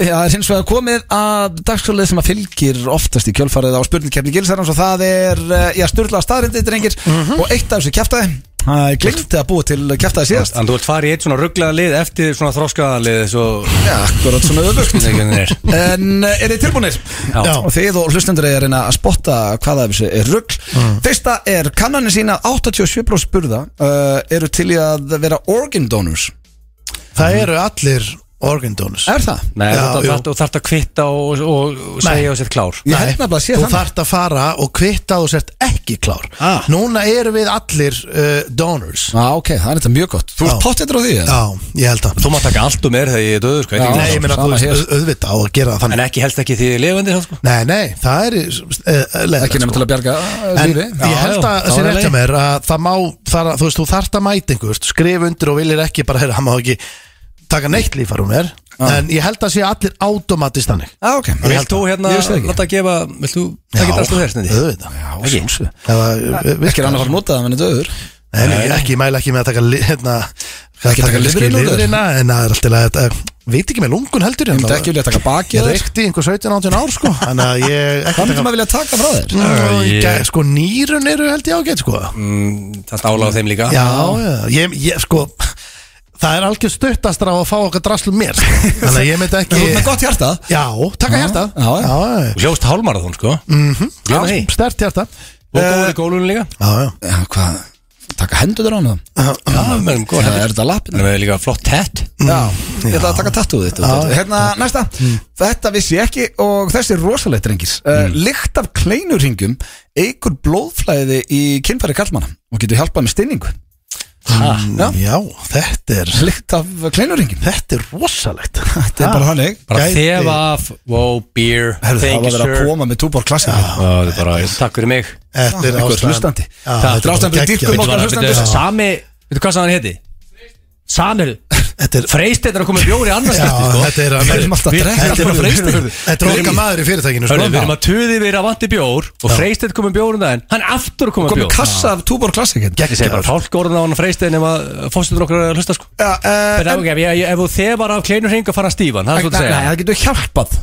það er hins vegar komið að dagskjólið sem að fylgir oftast í kjölfarið á spurningkeppni gilsarans og það er, eh, já, styrla staðrindir drengir og eitt af þessu kjæftæði Það er glimt að búa til kjæftæði síðast
Þannig þú ert farið í eitt svona rugglaða lið eftir svona þroskaða lið Svo
Já, akkurat svona öfugt En eh, er þið tilbúinir?
Já.
Og þið og hlustendur er að reyna að spotta hvaða af þessu er rugg Fyrsta er kannanin sína 87% spurða uh, eru til í að vera organ donors
Það eru allir organ donors
Er það?
Nei,
Já,
þú
jú.
þarft- þú þarft að kvitta og, og, og segja og sett klár
Ég held nefnilega að sé
Þú
þannig.
þarft að fara og kvitta að þú sért ekki klár
Ah.
Núna eru við allir uh, donors
Já, ok, það er þetta mjög gott Þú ert
Já.
pottetur á því? eða?
Já, ég held að
Þú mátt taka allt um er þegar ég er döður sko,
Já.
ekki-
Nei, ég meina, þú
sama
veist,
hér.
au- auðvitað á að gera það
En
þannig
ekki helst ekki því ég er lifandi sko.
Nei, nei, það er uh,
Ekki nefnilega til að bjarga eh,
En
lífi
ég held
já,
að það
þá
sé
er
rétt
leið.
hjá mér að það má, það, þú veist, þú þarft að mæta einhver, skrif undir og viljir ekki bara, heyrðu, hann má ekki taka neitt lífar hún er,
Ah.
en ég held að sé allir automatist þannig.
Já, Ah, ok
Ég
Vilt
held
þú
að-
hérna
ég veist það ekki.
láta gefa Vilt þú taka þetta alltaf þér sniði?
auðvitað.
Já,
Ekki.
sjálfsög
Ef að-
Ekki er annað að fara að nota það, menn þetta öður
Nei, nei, ekki, ég mæla ekki með að taka li- hérna,
Ekki taka lifrin úr þér?
lifurina en það er alltaf að, að veit ekki með lungun heldur hérna,
Ég myndi ekki vilja taka bakið
Ég
þér.
reykti í einhver 17-18 ár sko Þannig að ég ekki
Hvað myndum að vilja taka frá þér?
Nú,
Æ,
ég-
ég-
Sko nýrun eru held ég ágætt sko
Það er álag á þeim líka
Já, já, ég, ég sko Það er algjör stuttastra á að fá okkar draslu mér sko. Þannig að ég myndi
Þú ert
ekki
með gott hjarta
Já, taka hjarta
já, já.
já,
Þú hljóst hálmarathon sko mm
Mhm.
já.
-hmm.
Stert hjarta
Og góður í gólunum líka
Já, já
Já, hvað? Taka hendur þér á hana
Já, við erum góð
Það er Mm. þetta lappin
Það er líka flott hett
Já, ég ætla að taka tattúið þitt út. Hérna, næsta Þetta vissi ég ekki og þessi er rosalegt, drengir mm. Lykt af kleinurringum eigur blóðflæði í kynfæri kallmanna og getur hjálpað með stinningu
Já, þetta er
Lykt af kleinurringum
Þetta er rosalegt
Þetta er bara hannig
Bara
Gæti-
þefa af Wow, beer
Herðu, það
Thank you
var verið að
sir
koma með túbor klassin
Já, það er bara Takk fyrir mig
Þetta er
Einhver
ástæðan
hlustandi.
Já,
Það
þetta
er ástæðan fyrir
geggjað.
dýrkum
Veitu
okkar
hvað-
hlustandi.
veitu, Sami Veitu hvað sann hann heiti? Samir
Þetta er
Freysteinn er að koma með bjóri annars
Já,
skipti sko
þetta er
Við erum alltaf að drekka
Þetta er
fyrir-
bara Freysteinn
Þetta er okkar maður í fyrirtækinu sko
Hörru, við erum að tuði við erum að vanti bjór Og Freysteinn kom með bjór um daginn Hann aftur kom með
komið
bjór
kassa af Túborg Classic hérna.
Ég segi bara fólk orðan á hann Freysteinn Ef að fórsetur okkur er að hlusta sko
Já, eh,
En,
en-
en, ég, ég, ef þú þefar af kleinur hring og fara stífan, það
Nei,
er svo að segja
nei, það getur hjálpað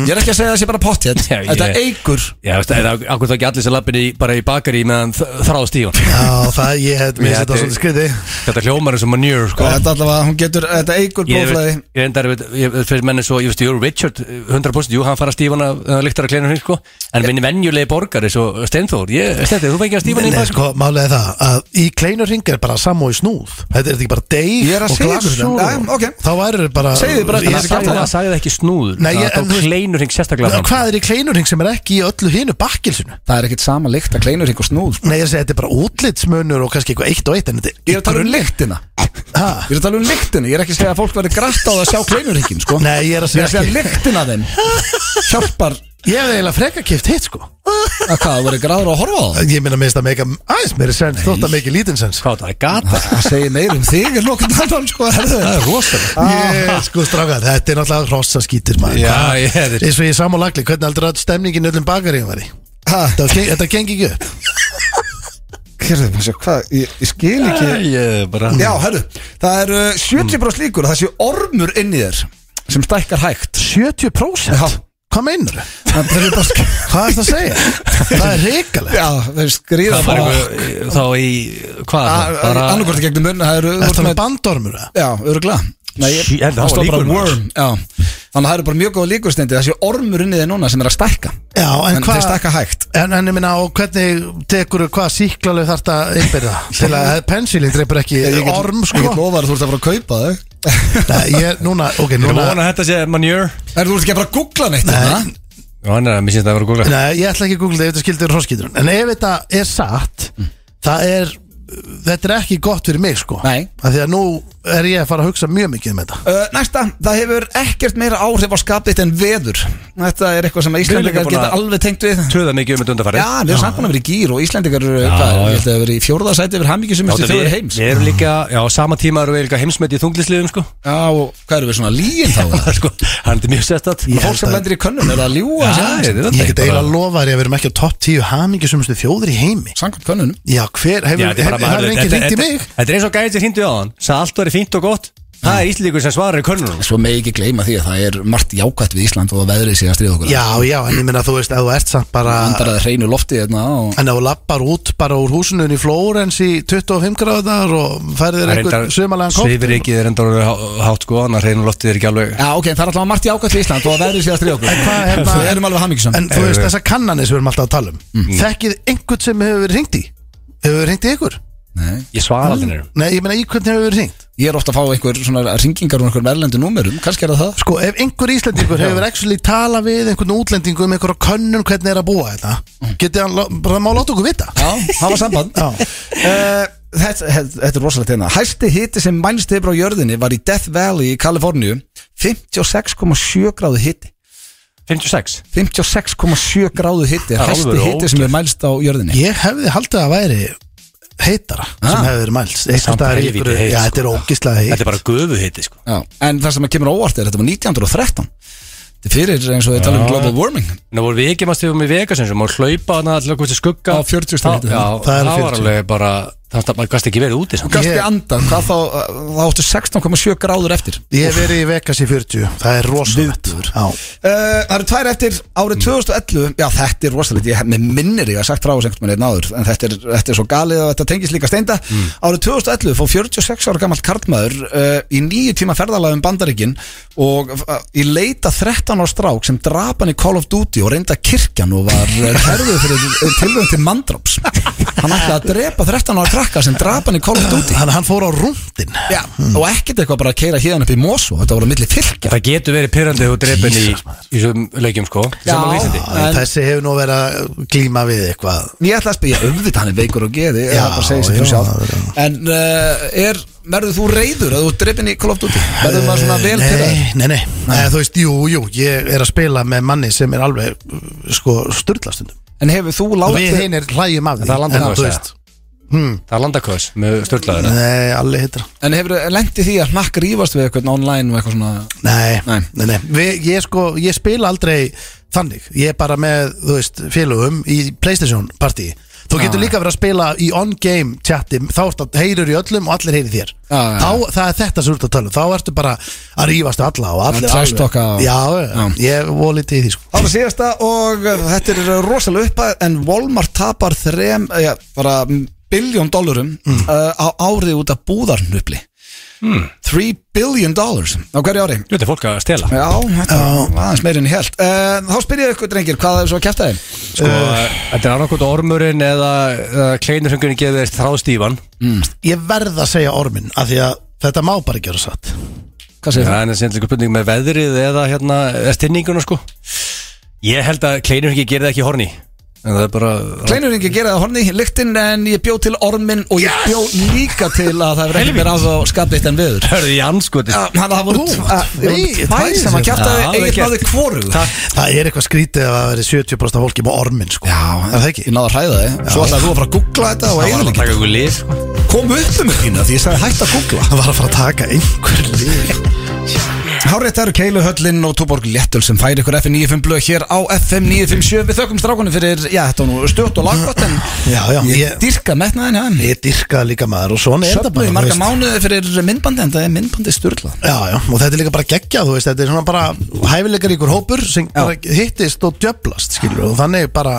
Ég er ekki að segja að það sé bara pott hér
Já, ég-
Þetta eigur
Já, veist, eða akkur þá ekki allir sem lappin í, bara í bakari meðan þ- þráð stífan
Já, það ég hef Mér
Já,
þetta
þetta-
svolítið skriði
Þetta hljómar er sem manjur, sko
Þetta allavega, hún getur, þetta eigur
Ég
blóðflæði
veit- ég endar, ég, ég, ég fyrir menni svo, ég veist, Júru Richard 100%, jú, hann fara stífan af uh, lyktar af kleinur hring, sko En minni venjulegi borgari, svo Steinþór, ég, Steinþór, þú fækir að stífan í
Nei,
það, sko
sko, málega það að í kleinur hring er bara samói snúð Þetta er þetta ekki bara
Ég er
deig
að
og
segja
glasur
þetta. Já, ok.
Þá væri þetta bara
Segðu bara
Ég
Það
eftir
sagði
sagði,
þetta.
það sagði ekki snúður,
Nei,
það
ég- en
tók
þú-
kleinur hring sérstaklega
það
fram.
Hvað er í kleinur hring sem er ekki í öllu hinu bakkilsinu?
Það er ekkit sama lykt að kleinur hring og snúð sko.
Nei, ég segi þetta er bara útlitsmunur og kannski eitthvað eitt og eitt En þetta
Ég er að tala um lyktina
Ha?
Ég er að tala um lyktina, ég er ekki að segja að fólk verði grætt á það að sjá kleinur hringin sko.
Nei, ég er að
Ég er að
segja
segja
ekki
lyktina þeim Hjálpar
Ég hef eiginlega freka kift hitt sko
að hvað, þú verði græður að horfa á það
Ég meina minnst að meika aðeins meiri sens Þótt að meiki lítinn sens
Hvað, það er gata?
Það segir meir um þig en lókun annan sko, herðu. Ah,
Það er rosalega
Ég, sko strákar, þetta er náttúrulega hrossa skítir maður
Já,
Hvað-
ég- þetta er-
Eins og ég samá lagli, hvernig heldur að stemningin öllum bakaríum var í? Ha, þetta geng- þetta gengi ekki upp
Hérðu, maður sé, hvað, ég, ég skil ekki
Ég bara
Já, herru, það eru eh, 70 brós líkur að það sé ormur inn í þér sem stækkar hægt
70%
Já,
Hvað meinar þau?
Það er bara sk-
Hvað er það að segja? Það er reikalegt
Já, þau skrýða
Það var
bara
eitthvað eh, þá í, hvað er það? Bara-
Annarkort í gegnum munn Það eru
Er það með um bandormur? eða?
Já, öruglega Nei, ég-
Sí, en það
það
var
stóð bara
líkur, maður.
worm Já, þannig að það eru bara mjög góða líkustendi Þessi ormur inn í þeir núna sem er að stækka
Já, en
En
hvað-
þeir stækka hægt
En, en ég minna, og hvernig tekur hvað síklarlega þarf þetta að innbyrða? Til að pensilin dreipur ekki
Ég get-
orm,
Ég get
sko?
lofa að þú ert að fara að kaupa þau
Nei, ég, núna, ok,
Ég
núna
vona að þetta sé manjör
Er þú ert ekki að bara að googla neitt hérna?
Já, hann er að mér syns það að vera góðlega
Nei, ég ætla ekki að googla þetta ef þetta skildur hróskýtur En ef þetta er satt Það er, þetta er ekki gott fyrir mig sko
Nei.
Af Því að nú er ég að fara að hugsa mjög mikið um þetta
Ö, Uh, Næsta, það hefur ekkert meira áhrif á skapið en veður Þetta er eitthvað sem að
Við erum líka
Íslandingar
búin
geta
að-
alveg tengt við
Töða mikið um þetta undarfæri
Já, við erum samt búin að vera í gýr og Íslandingar eru, hvað,
já.
ég held að vera í fjórðasæti yfir hamingjusumustu þjóður heims
Við erum líka, já, á sama tíma erum við líka heimsmet í þunglisliðum sko
Já, og hvað eru við svona líin þá?
Það er sko, hann er mjög sérstætt
Og Fólk sem lendir í könnun er að ljúa
Ég get eiginlega að lofa þér að við erum ekki á topp 10 hamingi sumustu þjóður í heimi
Sankant könnunum
Já, hver, hefur hef, hef, hef, enginn ringt í mig?
Þetta er eins og gæðið sem hrindu á hann Sæð allt verið fínt og gott Það er Íslíkur sem svarar í könnunum
Svo megi ekki gleyma því að það er margt jákvætt við Ísland og að veðrið sé að stríða okkur
Já, já, en ég minna þú veist, ef þú ert samt bara
Andar að hreinu lofti hérna og
En ef þú lappar út bara úr húsinu inn í Flórens í 25 gráðar og færðir einhver sumalega kótt
Sveifir ekki þeir endar orðið há- hátt sko Þannig að hreinu loftið er ekki alveg
Já, ok, en það er alltaf margt jákvætt við Ísland og að veðrið sé að stríða okkur
En hvað, hérna-
Við erum alveg hamingjusum
En þú veist þessar kannanir sem við erum alltaf að tala um
Mm.
Þekkið einhvern sem hefur verið ringt í? Hefur verið ringt í ykkur?
Nei.
Ég svara aldrei neirum
Nei, ég meina í hvern hefur verið ringt?
Ég er ofta að fá einhver svona ringingar um einhver verðlendu númerum, kannski er það það
Sko, ef einhver Íslandingur hefur actually talað við einhvern útlendingu um einhverja könnun hvernig er að búa þetta
Mm.
Getið hann, lá- bara má láta okkur vita
Já, hafa samband
Já.
Eh, þetta, þetta þetta er rosalegt hérna Hæsti hiti sem mælst hefur á jörðinni var í Death Valley í Kaliforníu 56,7 gráðu hiti
56
56,7 gráðu hiti
Það er
Hæsti
alveg
hiti sem er mælst á jörðinni
Ég hefði haldið að væri heitara sem
Ah.
hefur verið mælst Einhvers
Samt
staðar í
helvíti
einhverju-
heitt,
Já,
sko.
þetta er ógislega heitt
Þetta er bara gufu hitti sko
Já. En það sem kemur á óvart er þetta var 1913 Þetta er fyrir eins og við talum um global warming
Nú voru við ekki maður stegum í Vegas eins og maður hlaupa hana til okkur til skugga
Á 40 stig hiti.
Já,
Það er
það var
40.
alveg bara Það maður gæst ekki verið úti samt.
Gast
Ég-
ekki andan, það þá, þá áttu 16,7 gráður eftir
Ég hef verið í Vegas í 40 Það er rosalegt Já.
Uh, það eru tvær eftir árið 2011 Já, þetta er rosalegt, ég mig minnir ég að sagt frá þessu einhvern veginn náður En þetta er, þetta er svo galið og þetta tengist líka steinda Árið 2011 fór 46 ára gamalt karlmaður uh, Í nýju tíma ferðalag um bandaríkin Og uh, í leita 13 ára strák sem drap hann í Call of Duty Og reynda kirkjan og var herðið fyrir tilvægum til mandróps Hann ætlaði að drepa 13 ára krakka sem drap hann í Call of Duty
Þannig að hann fór á rúndin
Já, og ekkert eitthvað bara að keira hérna upp í Mosó Þetta voru að milli fylgja
Það getur verið pyrrandi þú dreipin í í þessum leikjum sko
Já.
Saman á Íslandi
En-
Þessi hefur nú verið að glíma við eitthvað
Ég ætla að spyrja, auðvitað hann er veikur og geði
Já,
það bara segir sig fyrir
já,
sjálf.
það er það.
En uh, er, verður þú reyður að þú dreipin í Call of Duty? Verður maður svona vel til það?
Eh, Nei, nei, nei, nei Þú veist, jú, jú, ég er að spila með manni sem er alveg, uh, sko, styrlastundum
En hefur þú
Og
látið
við hinn er hlægjum af því
Það er landið
En
nóg að
þú
segja.
veist,
Það er landaköðs með störtlaður
Nei, allir hittir hann
En hefur lendið því að hnakk rýfast við eitthvað online og eitthvað svona
Nei,
Nei.
nei, nei við, Ég sko, ég spila aldrei þannig Ég er bara með, þú veist, félögum í Playstation partí Þú
Ah.
getur líka verið að spila í on-game chati Þá ertu að heyrir í öllum og allir heyrir þér
Já, já.
Þá, það er þetta sem þú ert að tala um. Þá ertu bara að rífast við alla og allir
Já, trash talka og-
Já, já, ég voru lítið í því sko
Það var síðasta og uh, þetta er rosalega uppað en Walmart tapar þrem, eh, ja, bara biljón dollurum uh, á árið út af búðarnupli mm. 3 billion dollars á hverju ári
Þetta er fólk að stela
Já, þetta var aðeins meirinn í held uh, Þá spyr ég ykkur drengir, hvað er svo að kæfta þeim?
Sko,
Eh.
þetta er annarkot ormurinn eða, eða kleinur sem kunni gefið þér þráðstífan
Mm.
Ég verð að segja ormin af því að þetta má bara ekki vera satt
Hvað segir
Það er þessi einhver spurning með veðrið eða hérna, eða stinninguna sko Ég held að kleinur ekki gerði ekki horni En það er bara
Kleinuringi gera það horni, lyktin en ég bjó til ormin og ég bjó líka til að það verður ekki meira á þá skapleitt en viður
Hörðu í anskotis
Þannig að það voru
Ú,
tv- að- það voru
nei,
tvær sem að
tvær
kjarta
sem- Já,
eigin
vel
náði
gert.
hvorug Já,
Það er eitthvað skrítið að það veri 70% af fólki með ormin sko Er það ekki?
Ég náði að hræða þig Svo ætlaði þú að fara að googla þetta og
Það var
eigin
að taka ykkur lið sko.
Kom upp um þína því ég sagði hætt að googla
Það var að fara að taka einhver lið
Hárið það eru Keiluhöllin og Túborg Léttul sem færi ykkur FM 95 blöð hér á FM 957 Við þökkum strákunum fyrir, já þetta var nú stjórn og laggott en
Já, já,
ég,
ég-
dýrka metnaðin hann
Ég dyrkaði líka maður og svona er þetta
Söfnu
bara
í
þú
marga
veist.
mánuði fyrir myndbandi en það er myndbandi stjórnla
Já, já, og þetta er líka bara geggja, þú veist, þetta er svona bara hæfilegar ykkur hópur sem bara hittist og djöblast, skilur, og þannig bara,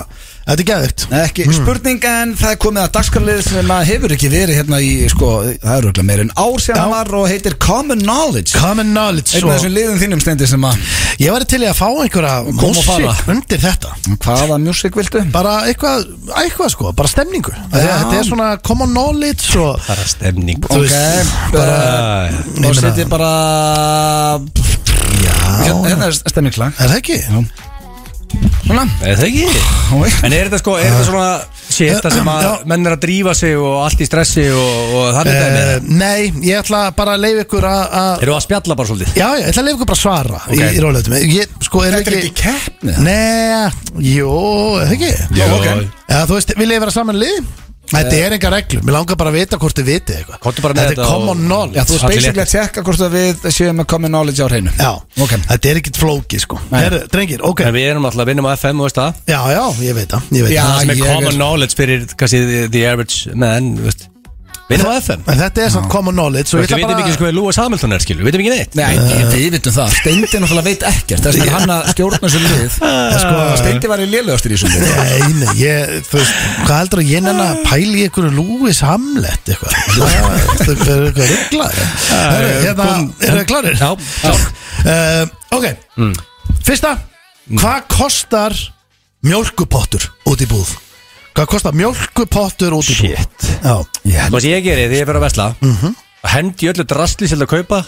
þetta er geðvikt.
Ekki spurning en það er komið að dagskarlið sem að hefur ekki verið hérna í sko, það eru örugglega meira en ár sem
Já.
það var og heitir Common Knowledge
Common knowledge,
Einn af
svo,
þessum liðum þínum stendi sem að
ég var til í að fá einhverja
og fara.
músík undir þetta.
hvaða music viltu?
Bara eitthvað, eitthvað sko, bara stemningu. Þetta þetta er svona common knowledge og,
Bara stemning
þú
Ok,
veist, bara,
bara
ég
Þá
meina-
setjum bara Hérna-
já,
Hérna er stemmingklang
er það ekki?
Svona
Er það ekki? En er þetta sko, er þetta svona Sétta sem að
Ah. Já.
menn er að drífa sig og allt í stressi og, og þannig uh,
Eh,
dæmi
Nei, ég ætla bara að leiða ykkur að að-
Eru að spjalla bara svolítið?
Já, já, ég ætla að leiða ykkur bara að svara
Ok.
í, í róleitum ég, sko, er
Þetta er ekki keppni
Nei, jú, er það ekki
Jó,
ok.
Já, þú veist, vil ég vera saman lið? Þetta er enga reglum, ég langar bara að vita hvort þið vitið eitthvað
Komdu bara með
Þetta
þetta
er common
Já, þú
og-
knowledge
veist
Allir
basically að
léttir.
tekka hvort að við séum með common knowledge á hreinu
Já,
Ah. Ok.
þetta er ekkit flóki sko
Nei.
Herru, drengir, ok
En við erum alltaf að vinna á FM, þú veist það?
Já, já, ég veit það, ég veit
Já,
það
Það sem Ah, er
ég er-
common knowledge fyrir, kannski, the, the average man, þú veist Vinna á FM
En þetta er samt common knowledge
Þú
og
veist,
ég
við
ætla
veitum ekki
bara
sko hvað Lúas Hamilton er, skilur, við veitum ekki neitt
Nei, við vitum það Steindi náttúrulega veit ekkert Þess að hann að stjórna þessu lið sko, Steindi var í lélugastir í þessu lið
Nei, nei, ég, þú veist, hvað heldur að ég nenni að pæli ykkur Lewis Hamlet eitthvað Það er eitthvað rugglar Herru, hérna, eru þið klarir?
Já, já.
uh, Ok,
Mm.
fyrsta Hvað kostar mjólkupottur út í búð? Hvað kostar mjólkupottur út í búð?
Shit.
Já,
Þú veist, ég gerir því ég fyrir að vesla Hendi öllu drastli sem það kaupa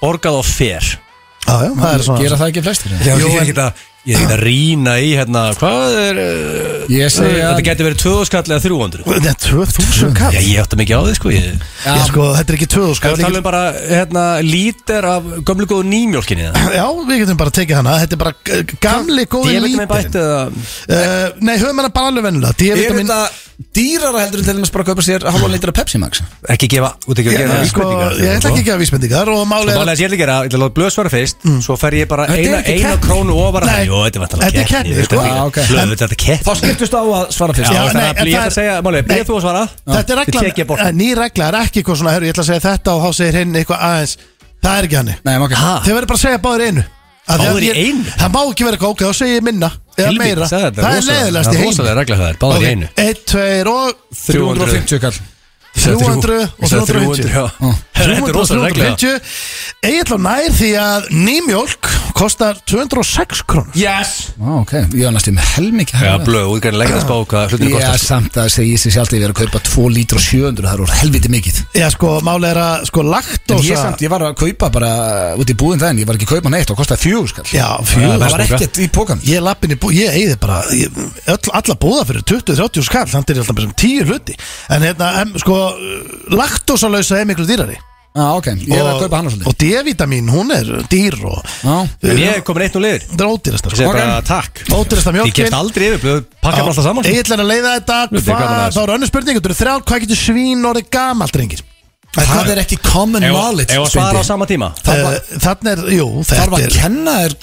Borgað og fer
já, já það er svona
Gera það ekki flestir
Já, ég er ekkert að Ég er ekkert að rýna í hérna Hvað er uh,
Ég segi að
Þetta getur verið 2000 skall eða 300
Þetta er 2000 kall
Já,
ég,
ég átti mikið á því sko Ég
sko, Þetta er ekki 2000
Hvað
kall
er talað um bara hérna lítir af gömlu góðu nýmjólkinni það?
Já, við getum bara tekið hana Þetta er bara g- gamli góði
Diabetum er
lítin
bætt eða
uh, Nei, höfum hana bara alveg vennilega
Er
D-vitamin
þetta dýrara heldur en til dæmis bara að kaupa sér halvan litra Pepsi Max?
ekki gefa út ekki að gefa
Sko,
vísbendingar,
ég ætla ekki að
sko.
gefa Mm. vísbendingar og málið
Svo
er
málega þess ég ætla að gera, ég ætla að láta blöðsvara fyrst Svo fer ég bara
Þetta er
eina,
ekki
eina
keppni.
krónu ofar að
Nei.
það Jó, þetta er
Þetta er
vantanlega
keppni,
keppni
sko.
Já, ok.
Blöð, þetta er keppni
Þá skiptust á að svara fyrst
Já,
Já,
þannig
nei,
að
en
ég
það er-
ætla að segja, Máli,
Nei.
býð þú að svara
Þetta er
Ég tek ég bort.
reglan, ný regla er ekki eitthvað svona, herru, ég ætla að segja þetta og þá segir hinn eitthvað aðeins, það er ekki hann
Nei, ok
Ha?
Þið verður bara að segja báður einu Að
Báðir
því að
í
ég-
einu?
Það má ekki vera eitthvað, ok, þá segir ég minna eða
Helvíti,
meira,
sagði þetta,
það er
rosalega-
leðilegast í
það er
heim
rosalega regla það er, báðir í einu
1, 2 og
350 kall
300 og 350
já. Þetta er
300 og
rosalega regla
350 Egil og nær því að nýmjólk kostar 206 krónur
Yes
Á, ok, ég var næstum helmikið
Já,
hærra.
blöð, útgæðin leggjast að spá hvað hlutinu
Já,
kostar
samt að segja sér sjálf þegar ég verið að kaupa 2 lítur og 700 Það eru helviti mikið
Já, sko, máli er að, sko,
En
laktósa
ég samt, ég var að kaupa bara út í búðin það en ég var ekki að kaupa neitt og kostaði fjögur skall
Já,
Það
fjögur
var
verðbólga.
ekkert í pókan
Ég lapp inn í bú, ég eigði bara ég, öll, Alla búða fyrir 20-30 skall Þannig er ég alltaf bara sem 10 hluti En hérna, em, sko, laktósalausa er miklu dýrari
Já, ok, ég er að kaupa hann og svolítið
Og D-vitamin, hún er dýr og
Já,
En ég er komin eitt nú liður
Það er ódýrasta,
Ég segi
sko
bara
Ok.
takk
Ódýrasta
Ég kemst
mjólkin
aldrei yfir, blöð, pakka bara alltaf saman sko.
Egil er að leiða þetta
Nú, þetta er gaman
hvað-
aðeins.
Þá er önnur spurning, þú eru þrjár Hvað getur svín orðið gamalt, drengir?
Það er ekki common
Ef-
knowledge
Ef að svara á sama tíma
Það
Eh,
var-
Þannig er, jú,
Þarf
þetta
að
er
kenna þér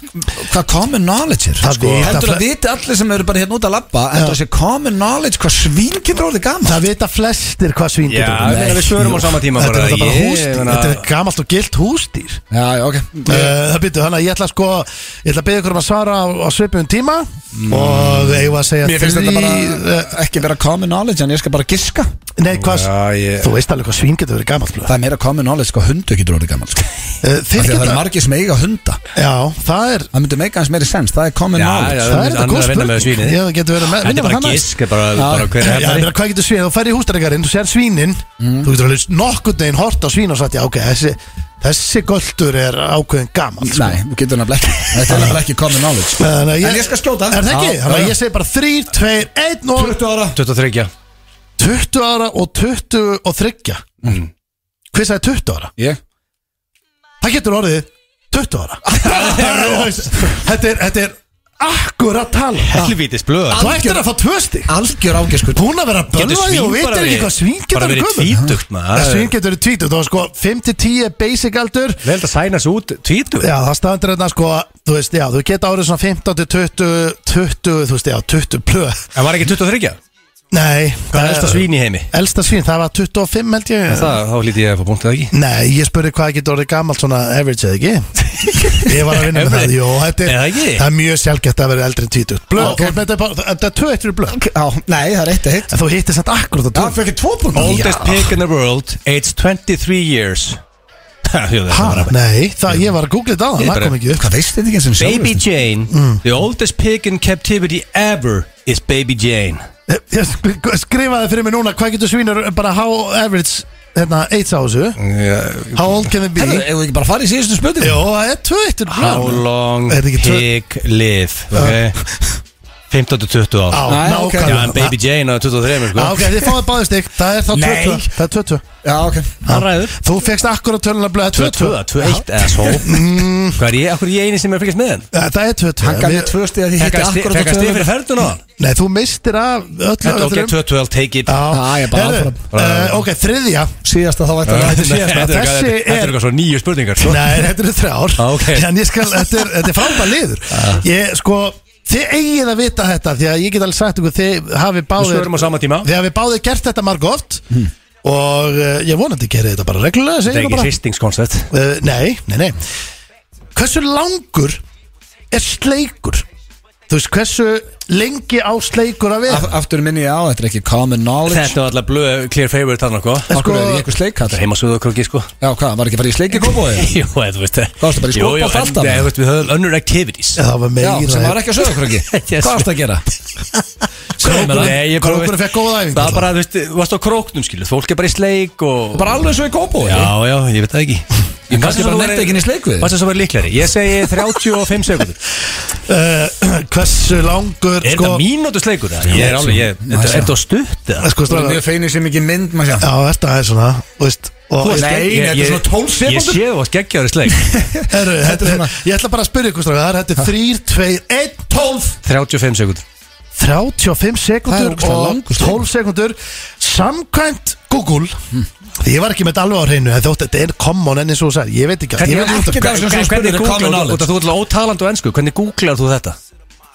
hvað common knowledge er
Það
sko.
vita
Heldur að
fle-
viti allir sem eru bara hérna út að labba Heldur að sé common knowledge hvað svín getur orðið gaman
Það vita flestir hvað svín
Já,
getur
ég meina, við svörum á sama tíma
Þetta er
bara,
þetta bara
ég
húsdýr
meina-
Þetta er gamalt og gilt húsdýr
Já, já, ok
Uh, það byrju, þannig að ég ætla sko ég ætla að byrja ykkur um að svara á, á svipum tíma og eigum við að segja
Mér finnst þetta bara
þrí-
eh, ekki vera common knowledge en ég skal bara giska
eh, nei, hvað,
Já, ég-
þú veist alveg hvað svín getur verið gamalt blöð.
Það er meira common knowledge hvað hundu getur orðið gaman sko.
uh,
Af því
þeir
að Það
geta,
er margir sem eiga hunda
já, það er
Það myndi meika hans meiri sens, það er common
Já,
knowledge
já,
það er
myndi
þetta
annað
góð
að vinna með
spurning
svínið.
já, það getur verið með
Þetta er bara gisk bara, bara hver
Já,
er
meira, hvað getur svín, þú færi í hústaregarinn, þú sér svínin
Mhm.
þú getur alveg nokkurn veginn hort á svín og sagt, já, ok, þessi, þessi göldur er ákveðin gamalt sko.
Nei, þú getur nefnilega ekki Þetta er nefnilega ekki common knowledge sko.
Þannig að
Mm. En ég skal skjóta.
Er það ekki?
Já,
Þannig
já,
að
já.
ég segi bara 3, 2, 1 og
20 ára
23
20 ára og 20 og 30
Mm.
Hver sagði 20 ára?
Ég?
Það getur orðið 20 ára Þetta er, þetta er akkurat tala
Helvítis blöð
Þú ættir að fá tvö stig
Algjör ágjaskur
Búin að vera bölvaði og vitir ekki hvað svín
Bara
getur
verið tvítugt maður
Það svín getur verið tvítugt Það var sko 5-10 er basic aldur
Vel þetta sænast út tvítugt
Já, það standur hérna sko Þú veist, já, þú geta árið svona 15 til 20 20, þú veist, já, 20 plöð
En var ekki 23?
Nei
Hvað er elsta svín í heimi?
Elsta svín, það var 25 held ég
Það, þá hlíti ég að fá punktið ekki
Nei, ég spurði hvað getur orðið gamalt svona average eða ekki Ég var að vinna með það,
Average?
jú, þetta er,
Eða ekki?
það er mjög sjálfgætt að vera eldri en tvítugt Blöð,
Ok.
okay. þetta er bara, þetta er tvö eittur blöð
Já, nei, það er eitt að hitt
En þú hittir þetta akkurat að
Já,
tvö
fyrir ekki tvo búin
Oldest pig in the world Age 23 years Ha, jú, þetta var
Ha,
að-
nei, það, ég var að googla þetta á
Ég
það,
bara-
kom ekki upp
Hvað veist þetta ekki eins og
Baby Jane
Mm.
The oldest pig in captivity ever Is Baby Jane
Ég- Eh, Ég sk- skrifaði fyrir mig núna, hvað getur svínur eh, bara how average, hérna, eitts á þessu How old can they be?
Hefur við ekki bara farið í síðustu spöndum?
Jó, það er tvö eittur
How
blöð
long
Er þetta ekki tvö-
pig live okay? 15 til 20
Á,
ár
Nei, ok.
Já,
nákvæmlega
en Baby Jane á 23
Já,
sko.
ok, þið fáið báðið stygg, það er þá
Nei.
22 Það er 22
Já, ok
Hann ræður
Þú fegst akkurat tölunar blöða
22,
22
21 eða svo Hvað er ég, akkur er ég eini sem er að fylgjast með henn?
Það er 22
Hann gaf
Við-
mér tvö stið að því hitti
Fekka sti-
akkurat
fekk hann stið fyrir ferðun á hann?
Nei, þú mistir af öllu
Þetta ok, 22, I'll take it
Já,
Já, ég bara
Heyrðu,
áfram.
eh, Ok, þriðja
Síðasta þá vært að
þetta er síðasta.
Þetta er
Þessi
eitthvað- þetta
er-
er eitthvað svo nýju spurningar sko.
Nei, þetta eru þrjár
Já, ok.
En ég skal, þetta er, þetta er frábæð liður Ég, sko, þið eigið að vita þetta Því að ég get alveg sagt ykkur Þið hafi
Við
báðir
svörum á sama tíma
Þið hafi báðir gert þetta marg oft
Hmm.
Og uh, ég vonandi gerði þetta bara reglulega
Þetta
segi
er
ég
ekki
bara.
hristingskoncept
Uh, nei, nei, nei Hversu langur er sleikur? Þú veist, hversu lengi á sleikur að vera?
Aftur minni ég á, þetta er ekki common knowledge
Þetta var alltaf blöð clear favorite hann okkur
Af hverju er
sko-
ég eitthvað sleikall?
Það er heimasúðu okkur sko
Já, hvað, var ekki farið í sleikikópói?
Jú, eða þú veist
Hvað varstu bara í
Jú, jú,
skópbólt
en-
alltaf?
Nei, þú veist, við höfum önnur activities
Það var
Já,
meira
sem var ekki að sögja okkur ekki
Yes.
Hvað varst að gera?
Segðu mér það. Nei, ég bara-
Krókurinn fékk góða æfingu
Það var bara, þú veist, þú varst á króknum skilu Fólk er bara í sleik og
Bara alveg svo í kópói
Já, já, ég veit það ekki
Ég kannski bara netta ekki inn í sleik við
Hvað sem svo verið líklari? Ég segi 35 sekundur
uh, Hversu langur sko,
Er þetta mínútu sleikur? eða? Ég er alveg, ég, þetta er þetta á stutt
Sko,
eða?
Það er
strákar,
mjög feinir sem ekki mynd, maður sjá
Já, þetta er svona Þú veist og,
Þú- Nei,
Ég-
þetta er
ég-
svona 12
Ég
sekúndur.
sé þú að skeggja ári sleik
heru,
þetta
þetta,
er
er,
svona-
Ég ætla bara að spyrja ykkur strákar Þetta er 3, 2, 1, 12
35 sekundur
35
Það er
sekundur
ógeðslega
og
langur
12 sekundur Samkvæmt Google
Hm.
Því ég var ekki með þetta alveg á hreinu en Þótt þetta er common en eins og þú sagði Ég veit ekki allt, ég veit
Ekki það sem
Hvernig
spurning er common
googlar þú? Út
knowledge
af Þú ert alveg ótalandi og ennsku Hvernig googlar þú þetta?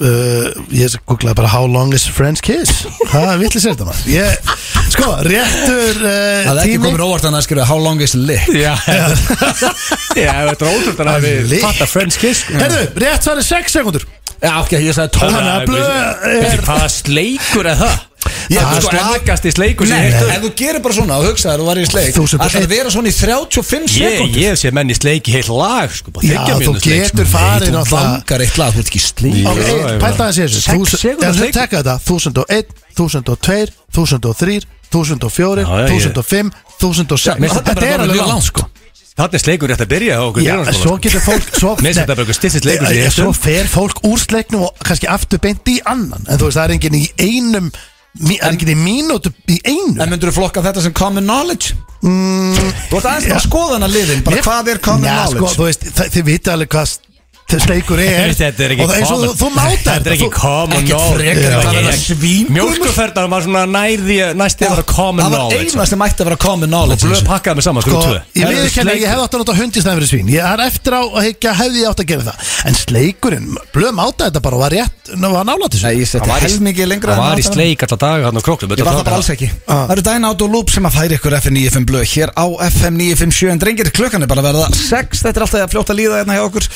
Uh, ég googlaði bara How long is French kiss Það er vittlis þetta maður ég, Sko, réttur uh,
Það er ekki
tími
komin óvart að skilja How long is lit?
Já, þetta er ótrúnt að við
Lit.
fatta French kiss sko.
Herðu, rétt svar er 6 sekundur
Já, ok, ég sagði 12
Þannig að blöð
Veistu,
er
Hvaða sleikur er það?
Já,
Það er
sko,
slakast í sleikur sem
Nei,
ég
ef
heitur
þú gerir bara svona og hugsaður og var í sleik
Þú sem bara-
Það er að vera svona í 35
Ég,
sekundur
ég sé menn í sleik í heilt lag sko, bara
Já,
þriggja
þú
mínútna sleik, sko.
getur farið
Þú
náttúrulega
langar eitt lag, þú ert ekki í sleik
Ok,
Já, ég
pælta þessi þessu
Sex
Þúsund-
sekúndna
ef þú
sleikur.
tekka þetta 1001, 1002, 1003 1004,
Já, já, ég-
1005
Já,
1006
mér finnst þetta
Þetta
bara
er
orðið
alveg
mjög
langt
langt,
sko
Þarna er sleikur rétt að byrja á okkur
Já,
grunnskóla,
svo
sko.
getur fólk svo,
Mér finnst þetta bara eitthvað styttist leikur sem ég
Já,
hef
Svo
stund.
fer fólk úr sleiknum og kannski aftur beint í annan En þú veist, það er enginn í einum mí- Það er enginn í mínútu í einu Mm,
En myndur þú flokka þetta sem common knowledge? Þú ert aðeins bara að skoða hana liðin Bara
Mér-
hvað er common
Já, sko,
knowledge?
Þú veist, þa- þið vita alveg hvað s- sleikur er
Þetta er ekki
Og það- eins og
common
þú- Þú mátar
Þetta er ekki
þú-
common
Ekkert frekar en það verða svín
Mjölkuferðan var svona nærði næsti að vera common
Það var
knowledge sko.
eina sem ætti að vera common
Og
knowledge í
blöð
þessu.
pakkaði mig saman, sko,
Sko,
tvö
ég
Herðu,
veit ekki að
sleikur.
ég hef átt að nota hundistæðin fyrir svín Ég er eftir á að higgja hefði ég átt að gera það En sleikurinn, blöðum áta þetta bara og var rétt, ná, var nála til
Nei, ég
þessu
Hann
seti
var í-
helmingi lengra
Hann
en
var í Ah.
átta.
sleik alltaf daga hann á króknum
Ég var það bara alls ekki Það eru dæna át og lúp sem að færi ykkur FM 95 blöð Hér á FM 957 En drengir, klukkan er bara að verða 6 Þetta er alltaf að fljóta að líða hérna hjá okkur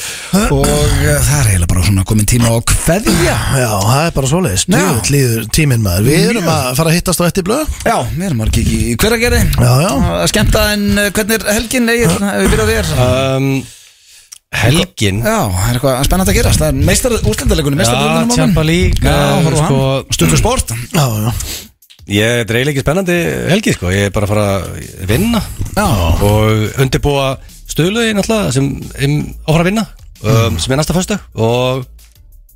Og eh, það er eiginlega bara svona komin tíma á kveðja
Já, það er bara svoleiðis,
Já.
djúvill líður tíminn maður Við erum
Mjög.
að fara að hittast á eftir blöð
Já, við erum að kikki í hveragerði
Já, já.
Skemta en eh, hvernig er helgin Egil, ef við byrjað þér
um, Helgin
Já, það er eitthvað spennandi að gerast Það er meistar úrslendalegunum
Já, Champa League, eh,
Já,
sko-
sko Stundu sport
Já, já,
Ég er eiginlega ekki spennandi helgi sko Ég er bara að fara að vinna
Já
Og undirbúa stöðlögin alltaf sem um, á að fara að vinna um, Sem er næsta föstu Og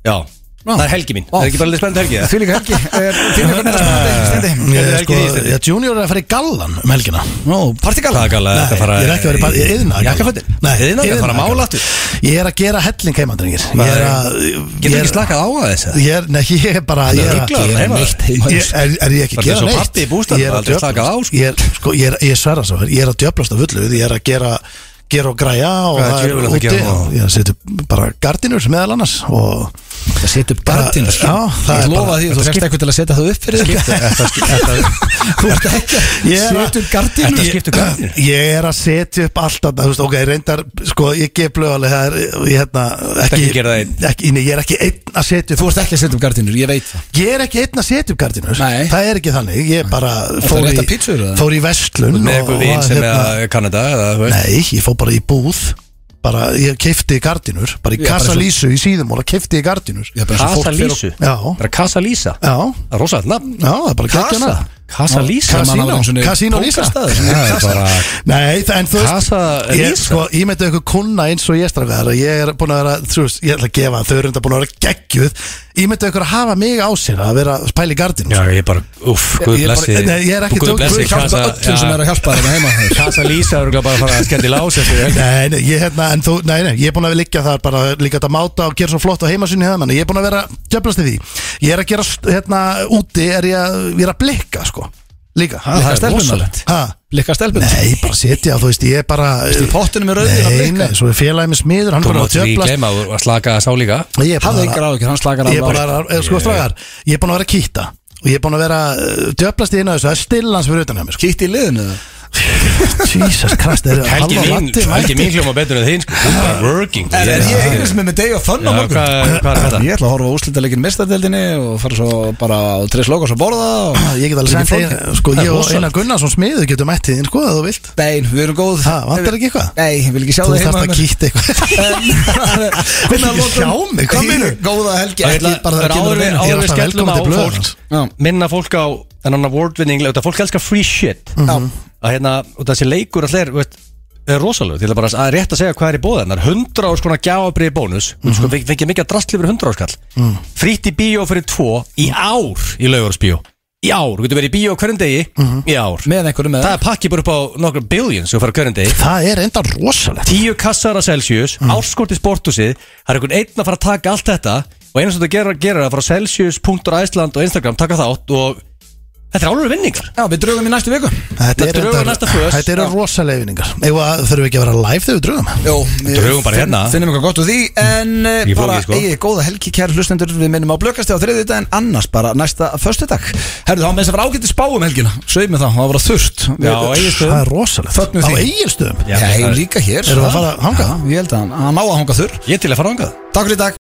já, Það er helgi mín, það er ekki bara spennandi helgi það?
Því líka helgi Því líka hvernig er stendi
Ég,
Þetta er
sko,
helgin í þitt.
ég, Junior er að fara í gallan um helgina
Nó, partíkall
Hvað er galið
Nei,
þetta fara
ég er ekki að vera bara, ég er yðnaðar Nei,
Jakkafötin? Iðnaðargalli, fara að
iðnaðargalli.
mála aftur
Ég er að gera helling heimadrengir Ég er að
Getur
ég er-
ekki slakað á að þessu?
Ég er, nei, ég er bara Ég er að
ruglaður,
gera
heima.
neitt heima Ég- Er er ég ekki að
Þetta er
gera
svo
neitt?
pabbi í bústaðnum,
Ég er að
aldrei slakað á,
djöflast- Ég er, sko, ég er, ég sverra svo Ég er að djöflast af fullu Ég er að gera gera og græja og
Hvað er
það
djöfulegt
er
að
úti
gera á?
ég er að setja upp bara gardinur meðal annars og
Það setur
Bara-
gardínur
Já, það
Ég
er
lofa
bara-
því, þú
þetta
fæst
skiptir-
eitthvað til að setja það upp fyrir þig Þú ert ekki
Ég er að-
Setur gardínur
Þetta skiptir gardínur.
Ég er að setja upp alltaf þú veist, ok, reyndar, sko, ég gef blöð alveg það er, ég hérna, ekki,
ekki gera það einn.
ekki nei, ég er ekki einn að setja upp
Þú ert ekki að setja upp gardínur, ég veit það
ég er ekki einn að setja upp gardinur
Nei.
það er ekki þannig, ég bara fór
rétta
í,
pizzur, eða?
fór í vestlun
Með
og-
eitthvað
og
vín sem er
hérna-
að Kanada eða þú veist
nei, ég fór bara í búð bara, ég keipti gardinur bara í
Já, bara
Casa
svo-
Lísu í síðumóla, keipti ég gardinur já,
Ég er bara eins og
Casa
fólk fer og-
Lísu
já,
Bara Casa Lísa
já,
Það er rosalega nafn
það er bara
Casa
geggjana
Casa Lísa
Casa-
Casino,
Casino.
Casino Lísa
Pókerstaður.
Það er bara
Nei, það- en þú veist
Casa
ég,
Lisa.
sko, ég myndi ykkur kunna eins og ég strafgar ég er búin að vera, þú veist, ég ætla að gefa þau eru enda búin að vera geggjuð ég myndi ykkur að hafa mig á sér að vera að spæla í gardinu
Já, ég er bara, uff, guð
Ég er bara-
blessi
Nei, ég er ekki
Guð
djók-
blessi
Guð hjálpi
Casa-
öllum sem
já,
er að hjálpa
hérna
þér heima
Casa Lísa er örugglega bara að fara að skendi lás eftir helgi.
Nei, nei, ég, hérna, en þú, nei, nei, ég er búin að vera liggja þar bara líka þetta máta og gera svo flott á heimasunni hérna, en ég er búin að vera djöflast í því Ég er að gera, hérna, úti er ég að, ég er að blikka, sko, líka
Ha, það er stelpunar
Ha?
Blikka stelpunar
Nei, bara setja, þú veist, ég er bara
Í pottunum er auðvitað að
Nei,
blikka
nei, svo er félagið með smiður, hann
Þú
bara að
mátt því
djöflast
gleyma að slaka að sá líka
Ég er
Hafðu
bara-
yngra á ykkur, hann slakar
Ég er búin
alveg á
að vera, sko, strágar Ég er búin að vera að kýta Og ég er búin að vera uh, djöflast í einu af þessu Það er stillans fyrir utan hjá mér, sko
Kýtt í liðinu eða?
Jesus Christ, þeir eru
Helgi
halva
mín,
landi
helgi mín hljóma betur en þín sko. Þú er bara working
Er er ég einu sem er með deg og fönn á
Já,
morgun?
hvað- hvað er þetta?
Ég ætla að horfa úslitaleikin mistadeldinni og fara svo bara á Tris Lókos að borða og
Ég get
Ekki
alveg sent
flókið.
þig, sko,
Það er
ég og
rosalegt.
Einar Gunnarsson smiður getum mættið þín, sko, að þú vilt
Nein, við erum góð
Ha, vantar ekki eitthvað?
Nei, ég vil ekki sjá
Þú
það
þarft að kýta eitthvað
Hvernig að
Viltu ekki
lokum-
sjá mig? Hvað meinarðu?
Góða helgi
Ég
ekki
ætla
bara
bara
það
það
kemur inn.
kemur
Ég er
Áður við
alltaf
skellum
velkomin
á
til blöð
fólk
hans.
Já.
Minna fólk á þennan award-winning leik, þetta Fólk elskar free shit
Já.
Að hérna, og þessi leikur allir þú veist, er rosalegu, til að bara að rétt að segja hvað er í bóðan 100 ás konar gjáabriði bónus mm -hmm. sko, feng- fengið mikið drastli fyrir 100 áskall mm. frýtt í bíó fyrir 2 í ár í laugursbíó í ár, þú getur verið í bíó hverjum degi í ár,
Með einhverjum með
það er pakkið bara upp á nokkra billions og fara hverjum degi
Það er enda rosalegt
tíu kassar að Celsius, mm. árskorti sporthúsið það er einhvern einn að fara að taka allt þetta og einu sem þetta gera, gera er að fara á celsius.iceland og Instagram taka þátt og þetta er álur vinningar
Já, við drögum í næstu viku
Þetta er
Drögum næsta föst.
þetta eru
Já.
rosalega yfinningar Þurfum við ekki að vera live þegar við drögum
Jó, við
Drögum bara
finn-
hérna.
Finnum eitthvað gott úr því En eh,
Ekki flókið,
bara,
sko.
eigið góða helgi kæri hlustendur Við minnum á blökasti á þriðið dag En annars bara næsta föstudag Herðu, þá með þess að fara ágæti spáum helgina Sveið mig þá, það var að þurft
Já, og eigin
Það er rosalegt
Fögnum
Á
því.
eigilstöðum
Já,
Já,
ég
það er-
líka hér
Erum við að fara að hanga?
Já, ég held að hann, hann á að hanga þurr
ég er til að fara ángað
Takk fyrir í dag